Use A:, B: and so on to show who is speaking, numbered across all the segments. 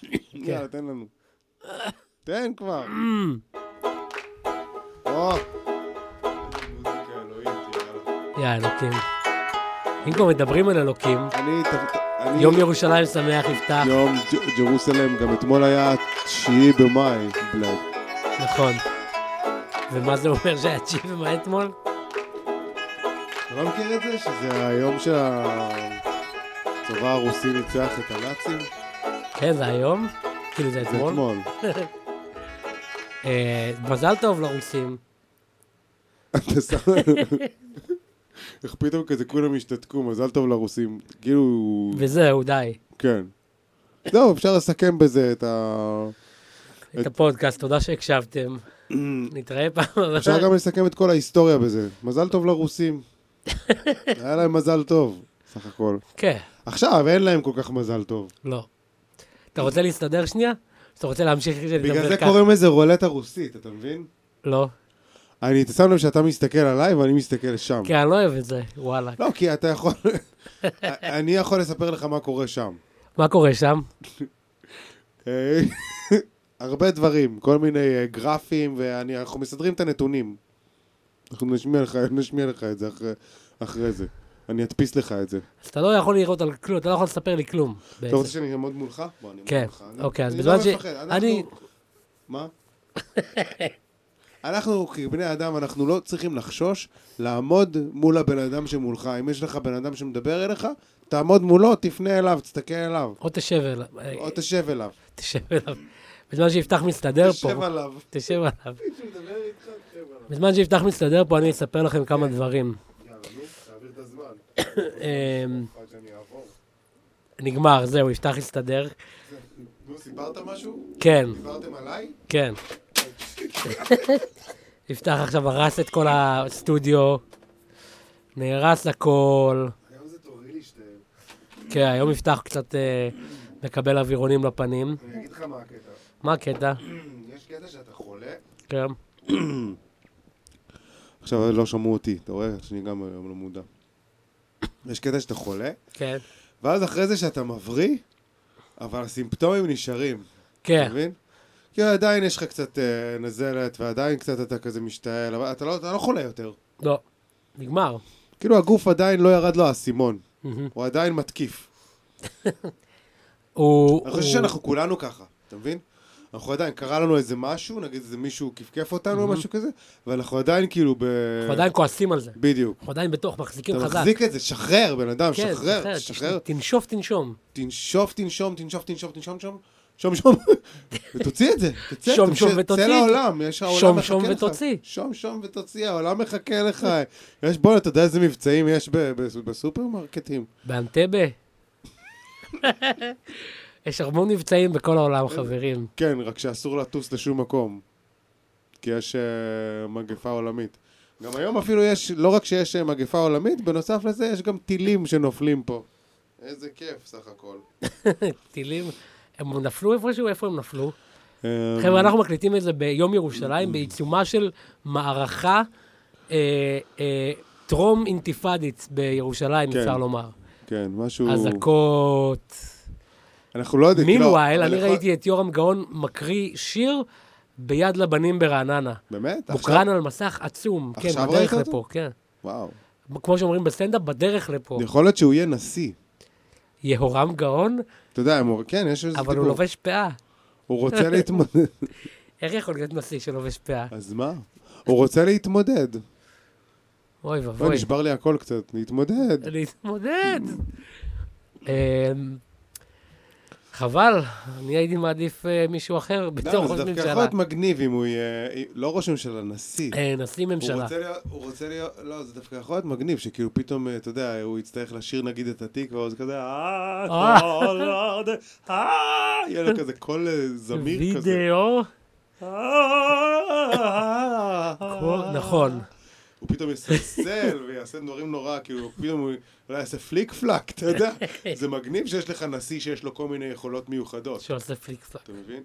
A: כן.
B: יאללה, תן לנו. תן כבר.
A: אה.
B: או. מוזיקה אלוהית, יאללה.
A: יא אלוקים. אם כבר מדברים על אלוקים,
B: אני... ת- ת- אני-
A: יום ירושלים שמח יפתח,
B: יום ג'- ג'רוסלם, גם אתמול היה 9 במאי, בלאד.
A: נכון. ומה זה אומר שהיה תשיעי ומה אתמול?
B: אתה לא מכיר את זה? שזה היום שהצבא הרוסי ניצח את הנאצים?
A: כן, זה היום? כאילו זה
B: זה
A: אתמול?
B: אתמול.
A: אה, מזל טוב לרוסים.
B: אתה שם לב? איך פתאום כזה כולם השתתקו, מזל טוב לרוסים. כאילו,
A: וזהו, די.
B: כן. זהו, אפשר לסכם בזה את ה...
A: את הפודקאסט, תודה שהקשבתם. נתראה פעם הבאה.
B: Mm. אפשר גם לסכם את כל ההיסטוריה בזה. מזל טוב לרוסים. היה להם מזל טוב, סך הכל.
A: כן,
B: עכשיו אין להם כל כך מזל טוב.
A: לא. אתה רוצה להסתדר שנייה? אתה רוצה להמשיך
B: בגלל
A: לדבר
B: זה
A: ככה?
B: קוראים לזה רולטה רוסית, אתה מבין?
A: לא.
B: אני, אתה שם לב שאתה מסתכל עליי ואני מסתכל שם.
A: כן, אני לא אוהב את זה, וואלה.
B: לא, כי אתה יכול... אני יכול לספר לך מה קורה שם.
A: מה קורה שם?
B: אה, הרבה דברים, כל מיני אה, גרפים, ואנחנו מסדרים את הנתונים. אנחנו נשמיע לך, נשמיע לך את זה אחרי, אחרי זה. אני אדפיס לך את זה.
A: אז אתה לא יכול לראות על כלום, אתה לא יכול לספר לי כלום.
B: אתה רוצה
A: בעצם.
B: שאני אעמוד מולך? בוא, אני אעמוד
A: כן,
B: מולך. אני-
A: אוקיי, אז
B: אני
A: בזמן
B: לא
A: ש-
B: מפחד, אנחנו-
A: אני-
B: מה? אנחנו כבני אדם, אנחנו לא צריכים לחשוש לעמוד מול הבן אדם שמולך. אם יש לך בן אדם שמדבר אליך, תעמוד מולו, תפנה אליו, תסתכל אליו,
A: או תשב אליו. אה,
B: או תשב אליו.
A: תשב אליו. בזמן שיפתח מסתדר פה,
B: תשב עליו.
A: תשב עליו. בזמן שיפתח מסתדר פה, אני אספר לכם כמה
B: כן.
A: דברים.
B: יאללה, נו, תעביר את הזמן.
A: אמ,
B: עד שאני אעבור.
A: נגמר, זהו, יפתח הסתדר.
B: נו, סיפרת משהו?
A: כן,
B: דיברתם עליי?
A: כן. יפתח עכשיו הרס את כל הסטודיו, נהרס הכל.
B: היום זה תורי להשתעל.
A: כן, היום יפתח קצת אה, מקבל אווירונים לפנים.
B: אני אגיד לך מה הקטע.
A: מה הקטע?
B: יש קטע שאתה חולה.
A: כן.
B: עכשיו לא שמעו אותי, אתה רואה? שאני גם היום לא מודע. יש קטע שאתה חולה,
A: כן.
B: ואז אחרי זה שאתה מבריא, אבל הסימפטומים נשארים, אתה
A: כן.
B: מבין? כאילו עדיין יש לך קצת אה, נזלת, ועדיין קצת אתה כזה משתעל, אבל אתה לא, אתה לא חולה יותר.
A: לא. נגמר.
B: כאילו הגוף עדיין לא ירד לו האסימון,
A: מהמם.
B: הוא עדיין מתקיף.
A: הוא...
B: אני חושב
A: הוא-
B: שאנחנו כולנו ככה, אתה מבין? אנחנו עדיין, קרה לנו איזה משהו, נגיד איזה מישהו כפכף אותנו או משהו כזה, ואנחנו עדיין כאילו ב...
A: אנחנו עדיין כועסים על זה.
B: בדיוק.
A: אנחנו עדיין בתוך, מחזיקים
B: אתה
A: חזק.
B: מחזיק את זה, שחרר בן אדם,
A: כן,
B: שחרר, שחרר,
A: תנשוף, תנשום.
B: תנשוף, תנשום, תנשוף, תנשום, תנשום, שום, שום, שום, ותוציא את זה, תצא,
A: שום, שום
B: תמשיך,
A: ותוציא.
B: צא לעולם, יש העולם
A: שום,
B: מחכה לך.
A: שום ותוציא.
B: שום, שום ותוציא, העולם מחכה לך. יש, בוא'נה, אתה יודע איזה מבצעים יש ב- ב- בסופרמרקטים.
A: באנטבה. יש המון מבצעים בכל העולם, חברים.
B: כן, רק שאסור לטוס לשום מקום, כי יש אה, מגפה עולמית. גם היום אפילו יש, לא רק שיש אה, מגפה עולמית, בנוסף לזה יש גם טילים שנופלים פה. איזה כיף סך הכל.
A: טילים. הם נפלו איפשהו? איפה הם נפלו?
B: אה,
A: חבר'ה, אנחנו מקליטים את זה ביום ירושלים, בעיצומה של מערכה אה, אה, טרום אינתיפאדית בירושלים,
B: כן.
A: אפשר לומר.
B: כן, משהו...
A: אזעקות.
B: אנחנו לא יודעים, כאילו,
A: מינואל,
B: אבל
A: אני
B: יכול-
A: ראיתי את יורם גאון מקריא שיר ביד לבנים ברעננה.
B: באמת? עכשיו?
A: מוקרן על מסך עצום. כן,
B: עכשיו
A: בדרך
B: ראית
A: לפה, כן.
B: וואו.
A: כמו שאומרים בסטנדאפ, בדרך לפה.
B: יכול להיות שהוא יהיה נשיא.
A: יהורם גאון,
B: אתה יודע, הם אומר- כן, יש איזה
A: אבל הוא
B: דיבור.
A: לובש פאה.
B: הוא רוצה להתמודד.
A: איך יכול להיות נשיא שלובש פאה?
B: אז מה? הוא רוצה להתמודד.
A: אוי
B: לא,
A: ואבוי.
B: נשבר לי הכל קצת. להתמודד.
A: להתמודד. אמ, חבל, אני הייתי מעדיף אה, מישהו אחר בתור
B: לא,
A: ראש
B: זה דווקא יכול
A: ממשלה.
B: להיות מגניב אם הוא יהיה... לא ראש ממשלה, נשיא.
A: אה, נשיא
B: הוא
A: ממשלה.
B: רוצה להיות, הוא רוצה להיות, לא, זה דווקא יכול להיות מגניב, שכאילו פתאום, אה, אתה יודע, הוא יצטרך לשיר נגיד את התקווה, או זה כזה, אה,
A: אה.
B: כל עוד, אה, יהיה לו כזה קול אה, זמיר כזה.
A: וידאו,
B: אה,
A: כל- נכון.
B: הוא פתאום יסלסל ויעשה דברים נורא, כאילו, פתאום הוא אולי יעשה פליק פלאק, אתה יודע? זה מגניב שיש לך נשיא שיש לו כל מיני יכולות מיוחדות,
A: שעושה פליק פלאק.
B: אתה מבין?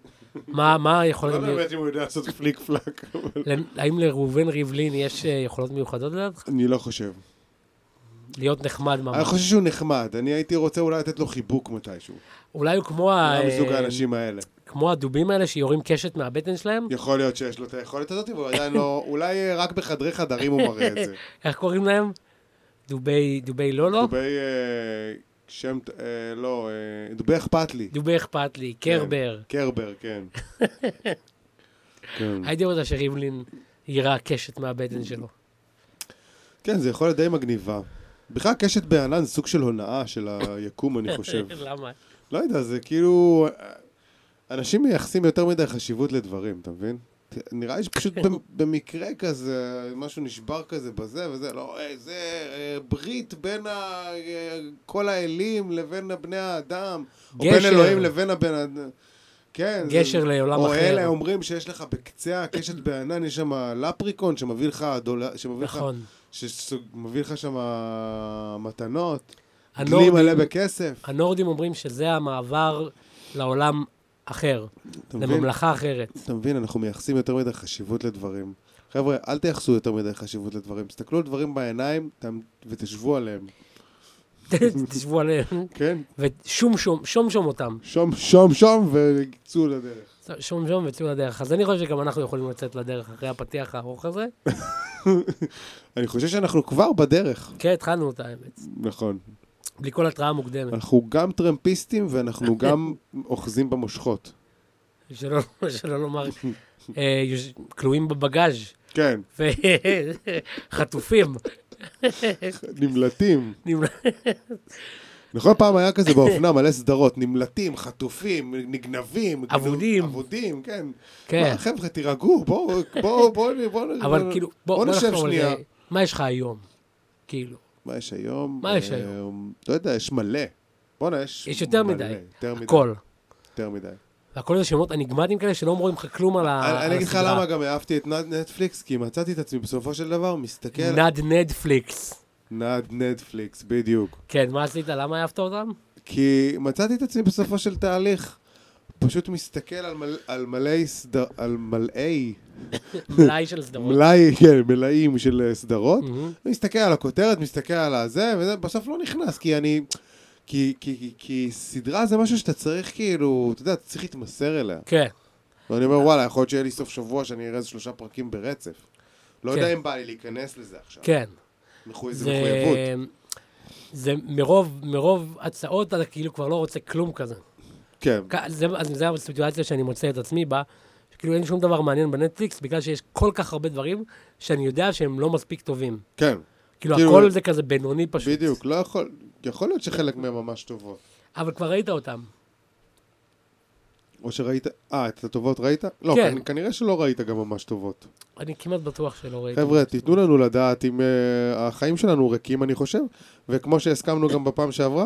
A: מה, מה
B: לא
A: היכולת...
B: באמת אם הוא יודע לעשות פליק פלאק, אבל...
A: ל- האם לראובן ריבלין יש אה, יכולות מיוחדות לדעתך?
B: אני לא חושב.
A: להיות נחמד
B: אני
A: ממש.
B: חושב שהוא נחמד, אני הייתי רוצה אולי לתת לו חיבוק מתישהו.
A: אולי הוא כמו ה...
B: גם זוג
A: אה,
B: לא האנשים האלה.
A: כמו הדובים האלה שיורים קשת מהבטן שלהם?
B: יכול להיות שיש לו את היכולת הזאת, אבל הוא עדיין לא... אולי אה, רק בחדרי חדרים הוא מראה את זה.
A: איך קוראים להם? דובי, דובי לולו?
B: דובי... אה, שם... ט- אה, לא, אה, דובי אכפת לי.
A: דובי אכפת לי, קרבר.
B: קרבר, כן. כן.
A: הייתי רוצה שריבלין יירה קשת מהבטן שלו.
B: כן, זה יכול להיות די מגניבה. בכלל קשת בענן זה סוג של הונאה של היקום, אני חושב.
A: למה?
B: לא יודע, זה כאילו... אנשים מייחסים יותר מדי חשיבות לדברים, אתה מבין? נראה לי שפשוט
A: כן.
B: במ- במקרה כזה, משהו נשבר כזה בזה וזה, לא, אה, זה אה, ברית בין ה... אה, כל האלים לבין בני האדם, או בין
A: גשר.
B: אלוהים לבין הבן אדם. כן. זה-
A: גשר לעולם
B: או
A: אחר.
B: אלה אומרים שיש לך בקצה הקשת בענן, יש שם לפריקון שמביא לך דולר, שמביא לך
A: נכון.
B: שמביא לך שם מתנות,
A: לא
B: דלי מלא
A: הנורדים,
B: בכסף.
A: הנורדים אומרים שזה המעבר לעולם אחר,
B: אתה מבין?
A: לממלכה אחרת.
B: אתה מבין, אנחנו מייחסים יותר מדי חשיבות לדברים. חבר'ה, אל תייחסו יותר מדי חשיבות לדברים. תסתכלו על דברים בעיניים תעמ- ותשבו עליהם.
A: תשבו עליהם,
B: כן?
A: ושום שום, שום שום אותם.
B: שום, שום, שום, וצאו לדרך.
A: שום שום וצאו לדרך. אז אני חושב שגם אנחנו יכולים לצאת לדרך אחרי הפתיח הארוך הזה.
B: אני חושב שאנחנו כבר בדרך.
A: כן, התחלנו אותה, האמת.
B: נכון.
A: בלי כל התראה מוקדמת.
B: אנחנו גם טרמפיסטים ואנחנו גם אוחזים במושכות. אה.
A: שלא שלא לומר, אה, יוש- כלואים בבגאז'
B: כן,
A: וחטופים.
B: נמלטים.
A: נמלא-
B: נכון, פעם היה כזה באופנה מלא סדרות, נמלטים, חטופים, נגנבים. גנוב-
A: אבודים.
B: אבודים, כן.
A: כן.
B: מה, חבר'ה, תירגעו, בואו, בואו, בואו, בואו,
A: אבל כאילו, בוא, בוא
B: נשב
A: נחשוב על
B: שנייה.
A: זה. מה יש לך היום? כאילו,
B: מה יש היום?
A: מה יש
B: אה, לא יודע, יש מלא. בואנה, יש
A: יש יותר
B: מלא,
A: מדי.
B: יותר מדי.
A: הכל. אה,
B: יותר מדי.
A: והכל זה שמות אניגמטיים כאלה שלא אומרים לך כלום על ה-
B: אני
A: על הסדרה.
B: אני אגיד לך למה גם אהבתי את נד- נטפליקס, כי מצאתי את עצמי בסופו של דבר מסתכל...
A: נד נדפליקס.
B: נד נטפליקס, בדיוק.
A: כן, מה עשית? למה אהבת אותם?
B: כי מצאתי את עצמי בסופו של תהליך. פשוט מסתכל על מל- על מלאי סדר... על מלאי...
A: מלאי של סדרות.
B: מלאי, כן, מלאים של אה, סדרות.
A: מהמם.
B: מסתכל על הכותרת, מסתכל על הזה, וזה בסוף לא נכנס, כי אני... כי, כי, כי, כי סדרה זה משהו שאתה צריך כאילו, אתה יודע, אתה צריך להתמסר אליה.
A: כן,
B: ואני אומר, וואלה, יכול להיות שיהיה לי סוף שבוע שאני אראה איזה שלושה פרקים ברצף. לא
A: כן.
B: יודע אם בא לי להיכנס לזה עכשיו.
A: כן.
B: מחוי- זה
A: זה-
B: מחויבות.
A: זה מרוב, מרוב הצעות, אתה כאילו כבר לא רוצה כלום כזה.
B: כן,
A: כ- זה- אז זו הסיטואציה שאני מוצא את עצמי בה, שכאילו אין שום דבר מעניין בנטפליקס, בגלל שיש כל כך הרבה דברים שאני יודע שהם לא מספיק טובים.
B: כן,
A: כאילו,
B: כאילו-
A: הכל זה כזה בינוני פשוט.
B: בדיוק. לא יכול... יכול להיות שחלק מהן ממש טובות.
A: אבל כבר ראית אותם.
B: או שראית... אה, את הטובות ראית? לא,
A: כן.
B: כנ- כנראה שלא ראית גם ממש טובות.
A: אני כמעט בטוח שלא ראיתי.
B: חבר'ה, תיתנו לנו לדעת אם uh, החיים שלנו ריקים, אני חושב, וכמו שהסכמנו גם בפעם שעברה,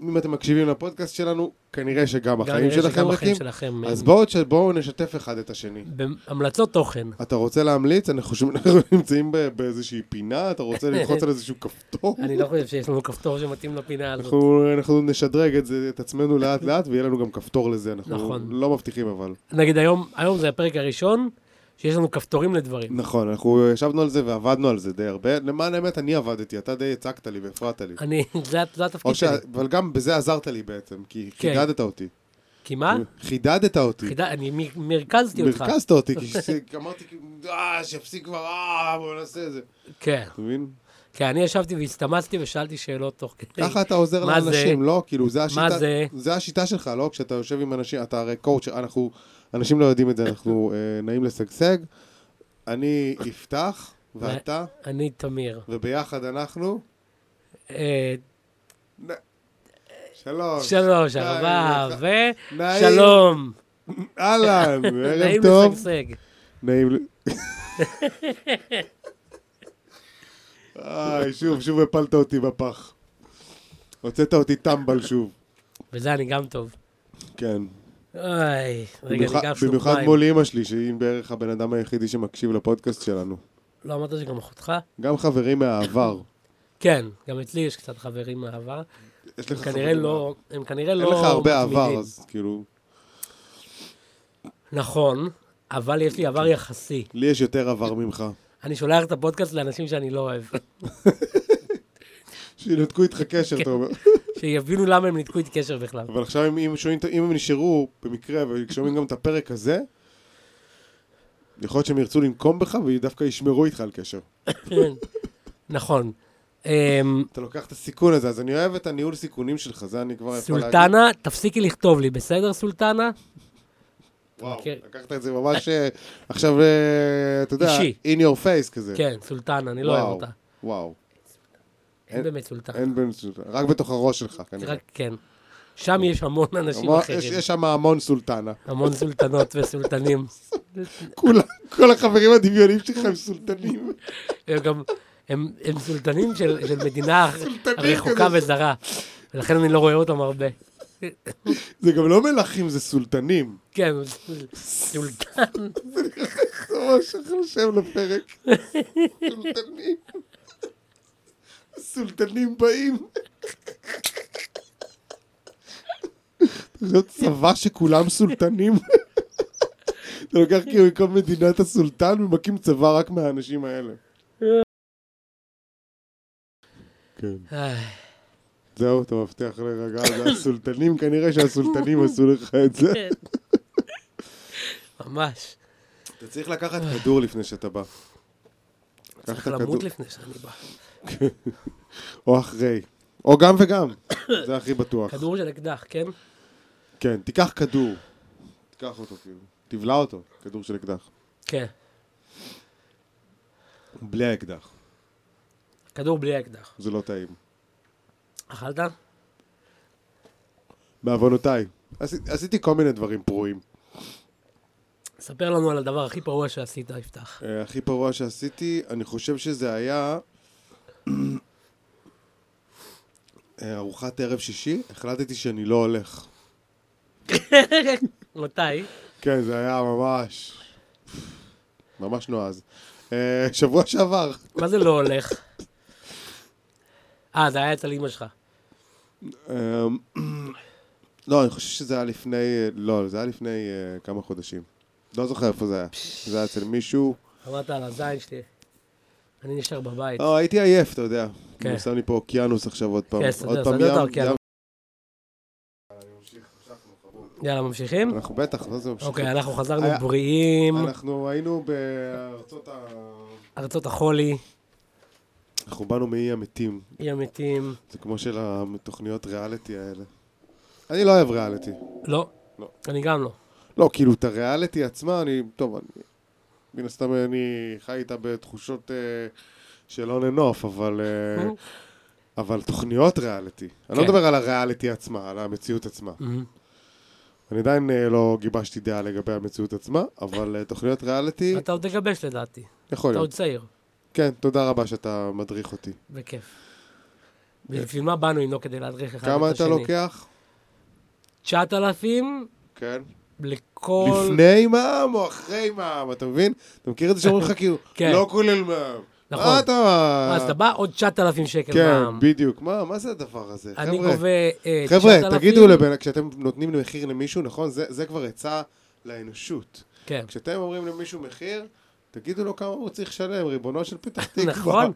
B: אם אתם מקשיבים לפודקאסט שלנו, כנראה שגם
A: גם
B: החיים
A: נראה
B: שלכם
A: שגם
B: ריקים.
A: החיים שלכם.
B: אז
A: הם-
B: בואו ש- בואו נשתף אחד את השני.
A: בהמלצות תוכן.
B: אתה רוצה להמליץ? אנחנו חושבים אנחנו נמצאים ב- באיזושהי פינה, אתה רוצה ללחוץ על איזשהו כפתור?
A: אני לא חושב שיש לנו כפתור שמתאים לפינה הזאת.
B: אנחנו, אנחנו נשדרג את, זה, את עצמנו לאט לאט ויהיה לנו גם כפתור לזה, אנחנו
A: נכון.
B: לא מבטיחים אבל.
A: נגיד היום, היום זה הפרק הראשון שיש לנו כפתורים לדברים.
B: נכון, אנחנו ישבנו על זה ועבדנו על זה די הרבה. למען האמת, אני עבדתי, אתה די הצקת לי והפרעת לי.
A: אני, זה זה
B: או
A: התפקיד
B: ש...
A: שלי.
B: אבל גם בזה עזרת לי בעצם, כי
A: אוקיי. כן.
B: חידדת אותי.
A: כי מה?
B: חידדת אותי.
A: חידה- אני מ- מרכזתי אותך.
B: מרכזת אותי, כי ש- אמרתי, כאילו, אה, שיפסיק כבר, אה, בוא נעשה את זה.
A: כן.
B: אתה מבין?
A: כן, אני ישבתי והסתמצתי ושאלתי שאלות תוך כדי.
B: ככה אתה עוזר
A: מה זה?
B: לאנשים, לא? כאילו, זה השיטה...
A: זה?
B: זה השיטה שלך, לא? כשאתה יושב עם אנשים, אתה הרי קואוצ', אנחנו... אנשים לא יודעים את זה, אנחנו אה, נעים לשגשג. אני אפתח, ואתה,
A: אני תמיר.
B: וביחד אנחנו...
A: אה,
B: שלוש.
A: שלוש,
B: נעים
A: ארבע,
B: לך.
A: ו...
B: נעים.
A: שלום.
B: אהלן,
A: נעים
B: ערב טוב.
A: לשגשג.
B: נעים ל... איי, שוב, שוב הפלת אותי בפח. הוצאת אותי טמבל שוב.
A: וזה אני גם טוב.
B: כן.
A: אוי, רגע,
B: במיוחד-
A: אני גם שלוק
B: במיוחד
A: מים.
B: מול אימא שלי, שהיא בערך הבן אדם היחידי שמקשיב לפודקאסט שלנו.
A: לא אמרת שגם אחותך?
B: גם חברים מהעבר.
A: כן, גם אצלי יש קצת חברים מהעבר.
B: יש לך
A: הם כנראה
B: חברים
A: לא, הם כנראה
B: מהעבר.
A: לא
B: אין לך הרבה עבר,
A: מתמידים.
B: אז כאילו...
A: נכון, אבל יש לי
B: כן.
A: עבר יחסי.
B: לי יש יותר עבר ממך.
A: אני שולח את הפודקאסט לאנשים שאני לא אוהב.
B: שינתקו איתך קשר, אתה אומר.
A: שיבינו למה הם ניתקו את קשר בכלל.
B: אבל עכשיו אם, אם, שומעים, את- אם הם נשארו במקרה ושומעים גם את הפרק הזה, יכול להיות שהם ירצו לנקום בך ודווקא ישמרו איתך על קשר.
A: כן. נכון. אמ,
B: אתה לוקח את הסיכון הזה, אז אני אוהב את הניהול סיכונים שלך, זה אני כבר לא יכול להגיד. כן.
A: סולטנה, תפסיקי לכתוב לי, בסדר, סולטנה?
B: וואו,
A: מכיר?
B: לקחת את זה ממש אה, עכשיו, אה, אתה יודע,
A: אישי.
B: in your face כזה.
A: כן, סולטנה, אני לא אוהב
B: וואו,
A: אותה.
B: וואו,
A: אין באמת סולטנה.
B: אין בין... רק בתוך הראש שלך, כנראה.
A: נכון. רק, כן. שם יש המון אנשים
B: אמר- יש-
A: אחרים.
B: יש שם המון סולטנה.
A: המון סולטנות וסולטנים.
B: כולם, כל החברים הדמיוניים שלך הם סולטנים.
A: הם גם, הם, הם סולטנים של, של מדינה רחוקה
B: כזה.
A: וזרה, ולכן אני לא רואה אותם הרבה.
B: זה גם לא מלכים, זה סולטנים.
A: כן, סול- סולטן,
B: זה ממש אחלה שם לפרק. סולטנים. סולטנים באים. זה לא צבא שכולם סולטנים. אתה לוקח כאילו מכל מדינת הסולטן ומקים צבא רק מהאנשים האלה. כן.
A: איי,
B: זהו, אתה מבטיח להירגע, זה הסולטנים, כנראה שהסולטנים עשו לך את זה.
A: כן. ממש.
B: אתה צריך לקחת כדור לפני שאתה בא. קח
A: צריך
B: את הכדור.
A: למות לפני שאני בא.
B: או אחרי. או גם וגם. זה הכי בטוח.
A: כדור של אקדח, כן?
B: כן, תיקח כדור. תיקח אותו כאילו. תבלע אותו, כדור של אקדח.
A: כן.
B: בלי האקדח.
A: כדור בלי אקדח.
B: זה לא טעים.
A: אכלת?
B: בעוונותיי. עשי- עשיתי כל מיני דברים פרועים.
A: ספר לנו על הדבר הכי פרוע שעשית, יפתח.
B: אה, הכי פרוע שעשיתי, אני חושב שזה היה... אה, ארוחת ערב שישי, החלטתי שאני לא הולך.
A: מתי?
B: כן, זה היה ממש... ממש נועז. אה, שבוע שעבר.
A: מה זה לא הולך? אה, זה היה אצל אמא שלך.
B: אמ, לא, אני חושב שזה היה לפני, אה, לא, זה היה לפני אה, כמה חודשים. לא זוכר איפה זה היה. זה היה אצל מישהו.
A: אמרת על הזין שלי. אני נשאר בבית.
B: לא, הייתי עייף, אתה יודע.
A: כן.
B: הוא שם לי פה אוקיינוס עכשיו עוד פעם.
A: כן, סדר,
B: עוד פעם
A: סדר את
B: ים-
A: האוקיינוס.
B: ים-
A: יאללה, ממשיכים?
B: אנחנו בטח, לא זה ממשיך.
A: אוקיי, אנחנו חזרנו
B: היה-
A: בריאים,
B: אנחנו היינו בארצות ה...
A: ארצות החולי,
B: אנחנו באנו מאי המתים.
A: אי המתים.
B: זה כמו של התוכניות ריאליטי האלה. אני לא אוהב ריאליטי.
A: לא,
B: לא.
A: אני גם לא.
B: לא, כאילו, את הריאליטי עצמה, אני... טוב, אני... מן הסתם אני חי איתה בתחושות אה, של הון אנוף, אבל... אה,
A: נו.
B: אבל תוכניות ריאליטי. אני לא
A: אוקיי. כן.
B: מדבר על הריאליטי עצמה, על המציאות עצמה.
A: מהמם.
B: אני עדיין אה, לא גיבשתי דעה לגבי המציאות עצמה, אבל אה, תוכניות ריאליטי,
A: אתה עוד תגבש לדעתי,
B: יכול
A: אתה עוד
B: להיות.
A: צעיר,
B: כן, תודה רבה שאתה מדריך אותי.
A: בכיף. בשביל מה באנו אם לא כדי להדריך אחד את השני?
B: כמה אתה לוקח?
A: 9,000
B: כן.
A: לכל...
B: לפני מע"מ או אחרי מע"מ, אתה מבין? אתה מכיר את זה שאומרים לך כאילו,
A: כן.
B: לא כולל מע"מ.
A: נכון.
B: מה אתה...
A: אז אתה בא עוד 9,000 שקל מע"מ.
B: כן, בדיוק. מה, מה זה הדבר הזה?
A: אני
B: חבר'ה,
A: גובה אה, 9,000...
B: חבר'ה, תגידו לבן, כשאתם נותנים מחיר למישהו, נכון? זה, זה כבר עצה לאנושות.
A: כן,
B: כשאתם אומרים למישהו מחיר, תגידו לו כמה הוא צריך לשלם, ריבונו של פתח תקווה.
A: נכון.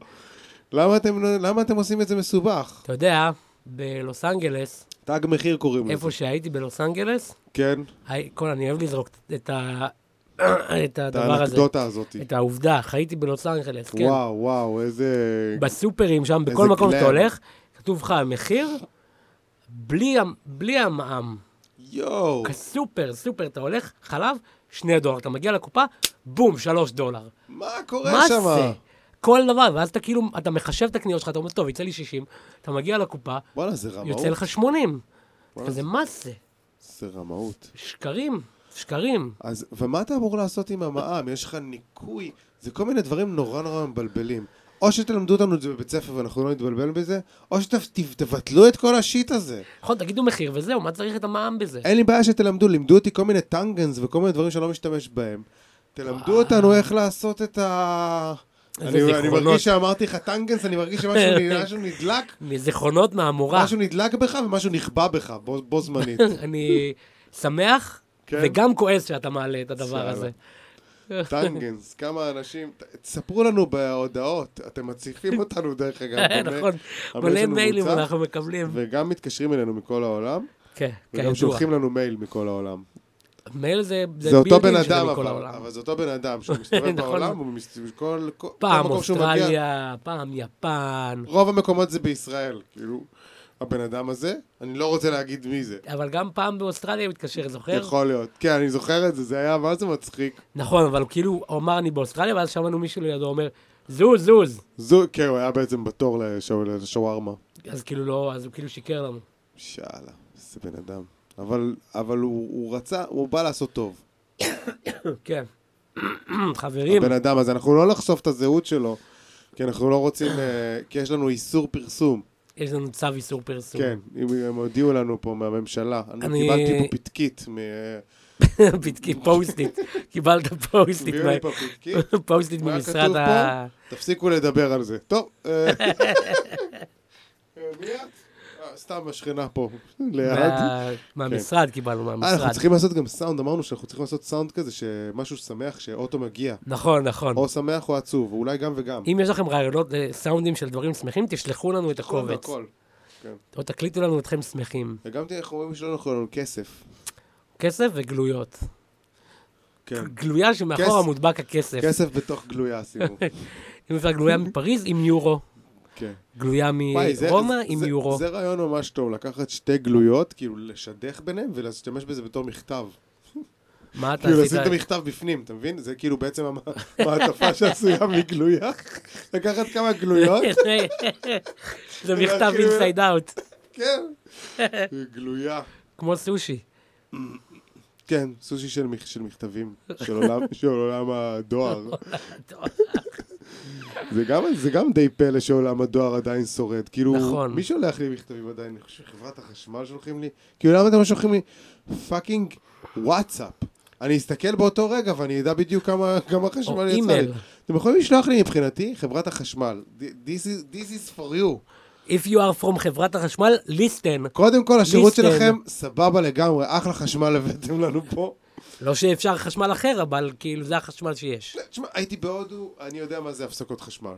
B: למה אתם, למה אתם עושים את זה מסובך?
A: אתה יודע, בלוס אנגלס,
B: תג מחיר קוראים לזה.
A: איפה שהייתי בלוס אנגלס,
B: כן,
A: הי- כל- אני אוהב לזרוק את ה... את
B: את
A: הדבר הזה,
B: האנקדוטה הזאת.
A: את העובדה, חייתי בלוס אנגלס, כן.
B: וואו, וואו, איזה...
A: בסופרים שם, בכל
B: איזה
A: מקום שאתה
B: גלם.
A: הולך, כתוב לך המחיר, בלי, המ- בלי המע"מ.
B: יואו.
A: כסופר, סופר, אתה הולך, חלב, שני דולר. אתה מגיע לקופה, בום, שלוש דולר.
B: מה קורה
A: מה
B: שם?
A: זה? כל דבר, ואז אתה כאילו, אתה מחשב את הקניות שלך, אתה אומר, טוב, יצא לי 60, אתה מגיע לקופה,
B: וואלה, זה רמאות.
A: יוצא לך 80.
B: וואלה,
A: וזה מה זה?
B: זה רמאות.
A: שקרים, שקרים.
B: אז, ומה אתה אמור לעשות עם המע"מ? יש לך ניכוי, זה כל מיני דברים נורא נורא מבלבלים. או שתלמדו אותנו את זה בבית ספר ואנחנו לא נתבלבל בזה, או שתבטלו את כל השיט הזה.
A: נכון, תגידו מחיר וזהו, מה צריך את המע"מ בזה?
B: אין לי בעיה שתלמדו, לימדו אותי כל מיני טנגנס וכל מיני דברים שאני לא משתמש בהם. תלמדו אותנו איך לעשות את ה...
A: אה. איזה
B: אני, אני
A: זיכרונות.
B: מרגיש שאמרתי לך טנגנס, אני מרגיש שמשהו נ- משהו נדלק,
A: זיכרונות מהמורה.
B: משהו נדלק בך ומשהו נכבה בך, בו, בו זמנית.
A: אני שמח
B: כן.
A: וגם כועס שאתה מעלה את הדבר
B: יאללה.
A: הזה.
B: טנגנס, כמה אנשים, ת- תספרו לנו בהודעות, אתם מציפים אותנו דרך אגב. במייל.
A: נכון,
B: המייל
A: מלא
B: שלנו
A: מיילים
B: מוצף,
A: אנחנו מקבלים.
B: וגם מתקשרים אלינו מכל העולם,
A: כן,
B: וגם
A: כידוע.
B: שולחים לנו מייל מכל העולם.
A: מייל זה
B: זה אותו בן
A: built-in של
B: אדם,
A: מכל
B: אבל,
A: העולם.
B: אבל זה אותו בן אדם שמסתובב
A: נכון.
B: בעולם, הוא מסתובב כל... כל-
A: פעם
B: כל מקום שהוא מגיע-
A: אוסטרליה, פעם יפן,
B: רוב המקומות זה בישראל, כאילו, הבן אדם הזה, אני לא רוצה להגיד מי זה.
A: אבל גם פעם באוסטרליה הוא התקשר, זוכר?
B: יכול להיות. כן, אני זוכר את זה, זה היה, מה זה מצחיק.
A: נכון, אבל כאילו, הוא אמר אני באוסטרליה, ואז שמענו מישהו לידו אומר, זוז, זוז.
B: זו, כן, הוא היה בעצם בתור לשו- לשווארמה.
A: אז כאילו לא, אז הוא כאילו שיקר לנו.
B: שאלה, איזה בן אדם. אבל, אבל הוא, הוא רצה, הוא בא לעשות טוב.
A: כן. חברים,
B: הבן אדם, אז אנחנו לא נחשוף את הזהות שלו, כי אנחנו לא רוצים, אה, כי יש לנו איסור פרסום.
A: יש לנו צו איסור פרסום.
B: כן, אם הם הודיעו לנו פה מהממשלה. אני
A: אני-
B: קיבלתי פה פתקית. מ- אה,
A: פתקי פוסטיט. קיבלת פוסטיט.
B: הביאו לי פה פתקית.
A: מה- פוסטיט
B: מה היה
A: ממשרד
B: כתוב
A: ה...
B: תפסיקו לדבר על זה. טוב. אה, מי את? אה, סתם השכנה פה, ליד.
A: מה- מהמשרד קיבלנו,
B: אה, אנחנו
A: מהמשרד.
B: צריכים לעשות גם סאונד, אמרנו שאנחנו צריכים לעשות סאונד כזה, שמשהו שמח, שאוטו מגיע.
A: נכון, נכון.
B: או שמח או עצוב, אולי גם וגם.
A: אם יש לכם רעיונות לסאונדים של דברים שמחים, תשלחו לנו את
B: הכל
A: הקובץ.
B: והכל.
A: או תקליטו לנו אתכם שמחים.
B: וגם תראה איך אומרים שלא נכון, כסף.
A: כסף וגלויות.
B: כן.
A: גלויה שמאחורה
B: כסף.
A: מודבק הכסף.
B: כסף בתוך גלויה עשינו.
A: אם אפשר גלויה מפריז עם יורו.
B: כן.
A: גלויה
B: וואי, זה-
A: מרומא
B: זה-
A: אה, עם
B: זה-
A: יורו.
B: זה רעיון ממש טוב, לקחת שתי גלויות, כאילו לשדך ביניהם ולהשתמש בזה בתור מכתב.
A: מה אתה
B: כאילו לשים את
A: עשית?
B: המכתב בפנים, אתה מבין? זה כאילו בעצם המ- המעטפה שעשויה מגלויה. לקחת כמה גלויות,
A: זה מכתב
B: כאילו-
A: אינסייד אאוט,
B: כן. גלויה.
A: כמו סושי.
B: כן, סושי של, מכ- של מכתבים, של עולם, של עולם
A: נכון.
B: הדואר. זה גם, זה גם די פלא שעולם הדואר עדיין שורד. כאילו,
A: נכון.
B: מי שולח לי מכתבים עדיין? אני חושב שחברת החשמל שולחים לי? כאילו, למה אתם לא שולחים לי פאקינג וואטסאפ? אני אסתכל באותו רגע ואני אדע בדיוק כמה, כמה
A: או
B: חשמל יצא לי.
A: אימייל.
B: אתם יכולים לשלוח לי מבחינתי חברת החשמל. This is, this is for you.
A: If you are from חברת החשמל, listen.
B: קודם כל, השירות
A: ליסטן.
B: שלכם סבבה לגמרי, אחלה חשמל הבאתם לנו פה.
A: לא שאפשר חשמל אחר, אבל כאילו זה החשמל שיש.
B: תשמע, הייתי בהודו, אני יודע מה זה הפסקות חשמל.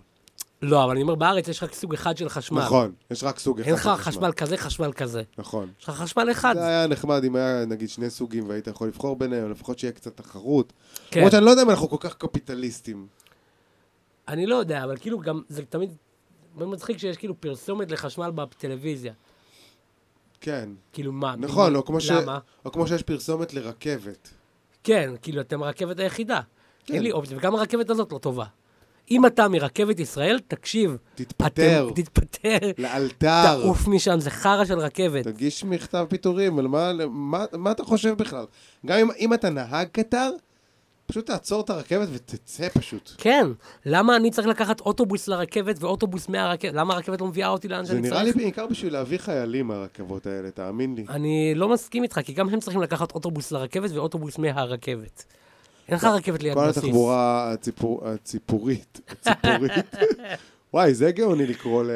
A: לא, אבל אני אומר, בארץ יש רק סוג אחד של חשמל.
B: נכון, יש רק סוג אחד
A: אין לך
B: של
A: חשמל כזה, חשמל כזה.
B: נכון.
A: יש לך חשמל אחד.
B: זה היה נחמד אם היה נגיד שני סוגים והיית יכול לבחור ביניהם, לפחות שיהיה קצת תחרות.
A: כן.
B: למרות שאני לא יודע אם אנחנו כל כך קפיטליסטים.
A: אני לא יודע, אבל כאילו גם, זה תמיד מאוד מצחיק שיש כאילו פרסומת לחשמל בטלוויזיה.
B: כן,
A: כאילו מה?
B: נכון,
A: מי-
B: או כמו ש-
A: למה?
B: או כמו שיש פרסומת לרכבת.
A: כן, כאילו אתם הרכבת היחידה.
B: כן.
A: אין לי אופציה, וגם הרכבת הזאת לא טובה. אם אתה מרכבת ישראל, תקשיב.
B: תתפטר,
A: אתם- תתפטר.
B: לאלתר.
A: תעוף משם, זה חרא של רכבת.
B: תגיש מכתב פיטורים, על מה- מה- מה אתה חושב בכלל? גם אם- אם אתה נהג קטר, פשוט תעצור את הרכבת ותצא פשוט.
A: כן, למה אני צריך לקחת אוטובוס לרכבת ואוטובוס מהרכבת? למה הרכבת לא מביאה אותי לאן
B: זה
A: שאני צריך?
B: נראה לי בעיקר בשביל להביא חיילים הרכבות האלה, תאמין לי.
A: אני לא מסכים איתך, כי גם הם צריכים לקחת אוטובוס לרכבת ואוטובוס מהרכבת. אין לך רכבת ליד
B: כל
A: בסיס.
B: התחבורה הציפור, הציפורית, הציפורית. וואי, זה גאוני לקרוא ל...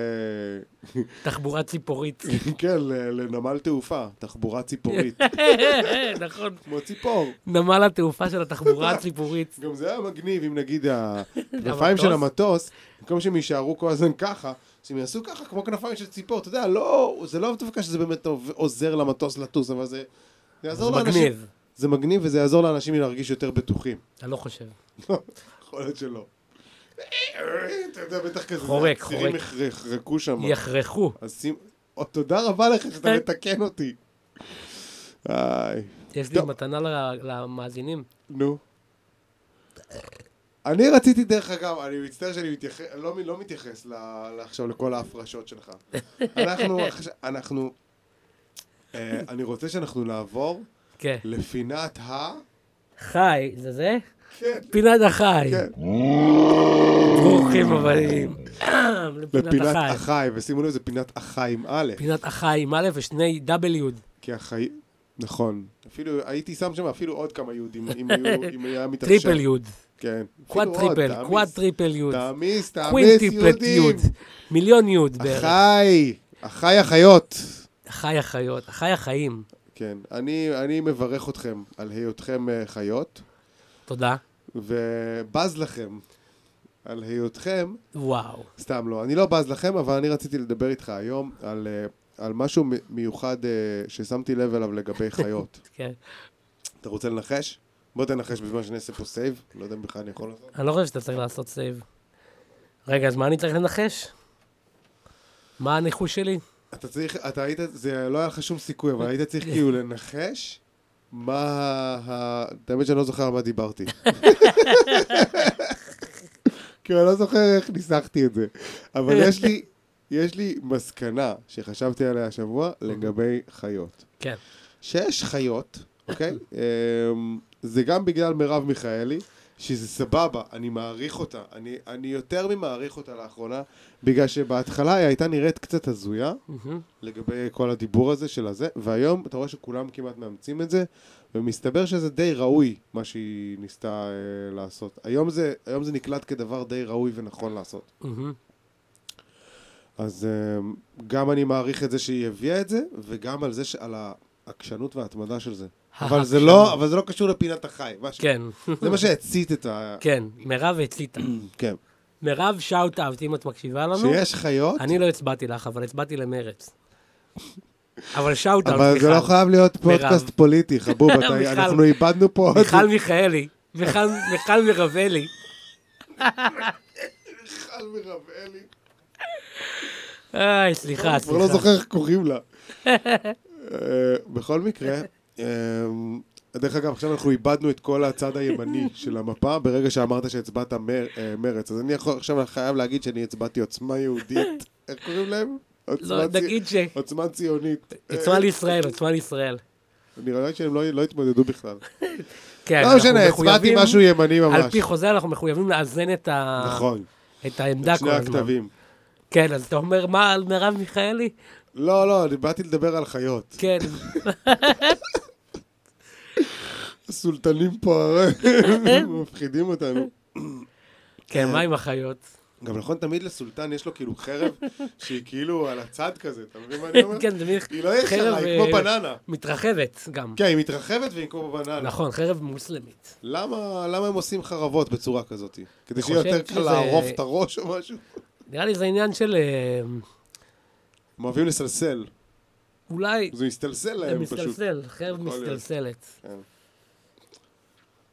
A: תחבורה ציפורית.
B: כן, ל- לנמל תעופה, תחבורה ציפורית.
A: נכון.
B: כמו ציפור.
A: נמל התעופה של התחבורה הציבורית.
B: גם זה היה מגניב אם נגיד הכנפיים של
A: המטוס?
B: המטוס, במקום שהם יישארו כל הזמן ככה, שהם יעשו ככה כמו כנפיים של ציפור. אתה יודע, לא, זה לא דווקא שזה באמת עוזר למטוס לטוס, אבל זה... זה
A: זה
B: יעזור לאנשים.
A: מגניב.
B: זה מגניב וזה יעזור לאנשים להרגיש יותר בטוחים.
A: אני לא חושב.
B: יכול להיות שלא. אתה יודע, בטח כזה.
A: חורק,
B: הצירים
A: חורק.
B: יחר- יחרקו שם.
A: יחרכו.
B: אז שים... או, תודה רבה לך שאתה מתקן אותי. איי,
A: יש לי
B: טוב.
A: מתנה ל- למאזינים.
B: נו. אני רציתי, דרך אגב, אני מצטער שאני מתייחס, לא, לא מתייחס ל, ל- עכשיו לכל ההפרשות שלך. אנחנו, עכשיו- אנחנו, אה, אני רוצה שאנחנו נעבור
A: כן.
B: לפינת ה...
A: חי, זה זה?
B: כן,
A: פינת החי.
B: כן.
A: ברוכים הבאים. לפינת
B: לפינת
A: החי.
B: החי, ושימו לב, זה פינת החי עם א',
A: פינת החי עם א' ושני W.
B: כי החי... נכון. אפילו, הייתי שם שם אפילו עוד כמה יהודים, אם היו- אם היה מתאפשר.
A: טריפל יוד.
B: כן.
A: קוואד
B: אפילו עוד,
A: טריפל.
B: תעמיס.
A: קוואד טריפל יוד.
B: תעמיס, תעמיס
A: קווינטיפלט יוד.
B: יהודים.
A: מיליון יוד בערך.
B: אחי, אחי החיות.
A: החי החיות. החי החיים.
B: כן, אני, אני מברך אתכם על היותכם אה, חיות,
A: תודה.
B: ובז לכם על היותכם,
A: וואו.
B: סתם לא, אני לא בז לכם, אבל אני רציתי לדבר איתך היום על, אה, על משהו מ- מיוחד אה, ששמתי לב אליו לגבי חיות.
A: כן.
B: אתה רוצה לנחש? בוא תנחש בזמן שאני אעשה פה סייב, לא יודע אם בכלל אני יכול לעשות.
A: אני לא חושב שאתה צריך לעשות סייב. רגע, אז מה אני צריך לנחש? מה הניחוש שלי?
B: אתה צריך, אתה היית, זה לא היה לך שום סיכוי, אבל היית צריך כאילו לנחש מה ה... האמת שאני לא זוכר על מה דיברתי. כאילו, אני לא זוכר איך ניסחתי את זה. אבל יש לי, יש לי מסקנה שחשבתי עליה השבוע לגבי חיות.
A: כן.
B: שיש חיות, אוקיי? אמ, זה גם בגלל מרב מיכאלי, שזה סבבה, אני מעריך אותה. אני, אני יותר ממעריך אותה לאחרונה, בגלל שבהתחלה היא הייתה נראית קצת הזויה.
A: מהמם.
B: לגבי כל הדיבור הזה של הזה, והיום אתה רואה שכולם כמעט מאמצים את זה, ומסתבר שזה די ראוי מה שהיא ניסתה אה, לעשות. היום זה, היום זה נקלט כדבר די ראוי ונכון לעשות.
A: מהמם.
B: אז אה, גם אני מעריך את זה שהיא הביאה את זה, וגם על זה, ש- על העקשנות וההתמדה של זה. אבל זה לא, אבל זה לא קשור לפינת החי, מה ש-
A: כן,
B: זה מה שהצית את ה...
A: כן, מירב הציתה.
B: כן.
A: מירב שאוט אאוט, אם את מקשיבה לנו.
B: שיש חיות,
A: אני לא הצבעתי לך, אבל הצבעתי למרץ. אבל שאוט אאוט,
B: אבל זה לא חייב להיות פודקאסט פוליטי, חבוב, אתה-
A: מיכל.
B: אנחנו איבדנו פה... עוד-
A: מיכל מיכאלי. מיכל מיכל מרבלי.
B: מיכל מרבאלי.
A: איי, סליחה,
B: כבר לא
A: סליחה.
B: זוכר איך קוראים לה. אה, בכל מקרה, אה, דרך אגב, עכשיו אנחנו איבדנו את כל הצד הימני של המפה ברגע שאמרת שהצבעת מר- אה, מרץ. אז אני יכול- עכשיו חייב להגיד שאני הצבעתי עוצמה יהודית. איך קוראים להם? עוצמה
A: לא,
B: צי-
A: נגיד ש...
B: עוצמה ציונית.
A: עצמה לישראל, עצמה לישראל.
B: נראה לי שהם לא לא התמודדו בכלל.
A: כן,
B: לא
A: אנחנו
B: משנה, הצבעתי
A: מחויבים-
B: משהו ימני ממש.
A: על פי חוזה אנחנו מחויבים לאזן את ה...
B: נכון,
A: את העמדה כל
B: שני
A: הזמן.
B: הכתבים.
A: כן, אז אתה אומר, מה, על מרב מיכאלי?
B: לא, לא, אני באתי לדבר על חיות.
A: כן,
B: סולטנים פה מפחידים אותנו.
A: כן, מה עם החיות?
B: גם נכון, תמיד לסולטן יש לו כאילו חרב שהיא כאילו על הצד כזה, אתה מבין מה אני אומר?
A: כן, זה מין
B: היא לא ישרה, היא
A: חרב,
B: כמו
A: אה,
B: בננה.
A: מתרחבת גם.
B: כן, היא מתרחבת והיא כמו בננה.
A: נכון, חרב מוסלמית.
B: למה למה הם עושים חרבות בצורה כזאת? כדי
A: אני
B: שיהיה
A: חושב
B: יותר קל
A: שזה-
B: לערוף את הראש או משהו?
A: נראה לי זה עניין של אה,
B: הם אוהבים לסלסל,
A: אולי
B: זה מסתלסל
A: זה
B: להם פשוט.
A: מסתלסל, חרב
B: יכול להיות.
A: מסתלסלת.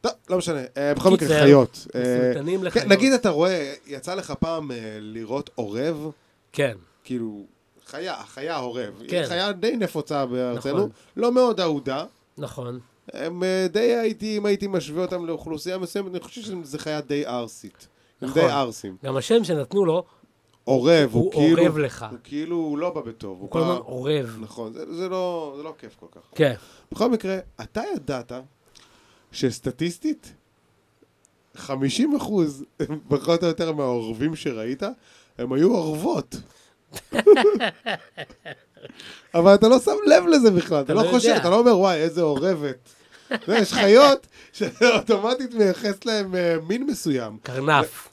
B: טוב, לא משנה. אה, בכל מקרה,
A: קיצר,
B: חיות. אה,
A: מסולטנים
B: כן,
A: לחיות.
B: נגיד אתה רואה, יצא לך פעם אה, לראות עורב,
A: כן,
B: כאילו, חיה, חיה עורב.
A: כן.
B: היא חיה די נפוצה בארצנו,
A: נכון.
B: לא מאוד אהודה.
A: נכון.
B: הם אה, די הייתי, אם הייתי משווה אותם לאוכלוסייה מסוימת, אני חושב שזו חיה די ערסית. הם
A: נכון.
B: די ערסים.
A: גם השם שנתנו לו,
B: עורב, הוא
A: הוא
B: כאילו...
A: אורב לך.
B: הוא כאילו הוא לא בא בטוב.
A: הוא
B: הוא
A: כל
B: בא-
A: הזמן אורב.
B: נכון, זה, זה, לא, זה לא כיף כל כך.
A: כן,
B: בכל מקרה, אתה ידעת שסטטיסטית, 50% פחות או יותר מהעורבים שראית, הם היו עורבות. אבל אתה לא שם לב לזה בכלל, אתה
A: לא
B: לא
A: יודע.
B: חושב, אתה לא אומר, וואי, איזה עורבת. אתה יודע, יש חיות שאוטומטית מייחס להן אה, מין מסוים.
A: קרנף.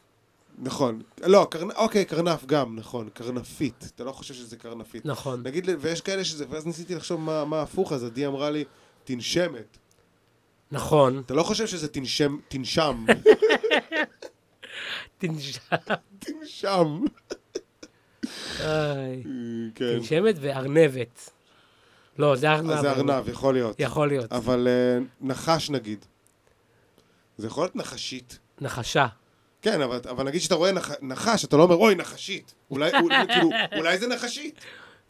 B: נכון. לא, קרנ... אוקיי, קרנף גם, נכון. קרנפית. אתה לא חושב שזה קרנפית.
A: נכון.
B: נגיד, לי- ויש כאלה שזה, ואז ניסיתי לחשוב מה, מה הפוך, אז עדי אמרה לי, תנשמת.
A: נכון.
B: אתה לא חושב שזה תנשם, תנשם.
A: תנשם.
B: תנשם.
A: איי.
B: כן.
A: תנשמת וארנבת. לא, זה ארנב.
B: אז זה ארנב, יכול להיות.
A: יכול להיות.
B: אבל אה, נחש נגיד. זה יכול להיות נחשית.
A: נחשה.
B: כן, אבל, אבל נגיד שאתה רואה נח, נחש, אתה לא אומר, אוי, נחשית. אולי, אולי, כאילו, אולי זה נחשית.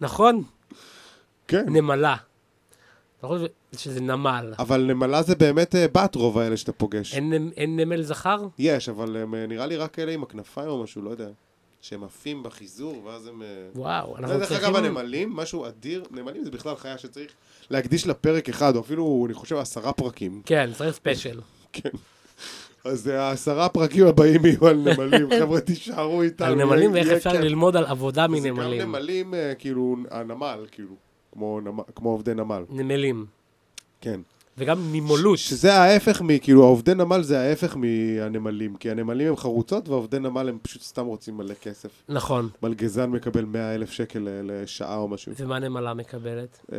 A: נכון?
B: כן.
A: נמלה. אתה חושב שזה נמל.
B: אבל נמלה זה באמת אה, בת רוב האלה שאתה פוגש.
A: אין נמ- אין נמל זכר?
B: יש, אבל הם אה, נראה לי רק אלה עם הכנפיים או משהו, לא יודע. שהם עפים בחיזור, ואז הם... אה,
A: וואו,
B: זה
A: אנחנו
B: דרך
A: צריכים...
B: אגב הנמלים, משהו אדיר. נמלים זה בכלל חיה שצריך להקדיש לה פרק אחד, או אפילו, אני חושב, עשרה פרקים.
A: כן, צריך ספיישל.
B: אז אה, העשרה הפרקים הבאים יהיו על נמלים. חבר'ה, תישארו איתנו.
A: על נמלים
B: יהיה-
A: ואיך
B: יהיה
A: אפשר
B: כיף.
A: ללמוד על עבודה
B: זה גם
A: מנמלים.
B: נמלים, אה, כאילו, הנמל, כאילו. כמו נמ- כמו עובדי נמל.
A: נמלים.
B: כן.
A: וגם נימולות.
B: שזה ההפך מ... כאילו, העובדי נמל זה ההפך מהנמלים, כי הנמלים הם חרוצות והעובדי נמל הם פשוט סתם רוצים מלא כסף.
A: נכון.
B: מלגזן מקבל 100 אלף שקל ל- לשעה או משהו.
A: ומה נמלה מקבלת?
B: אה,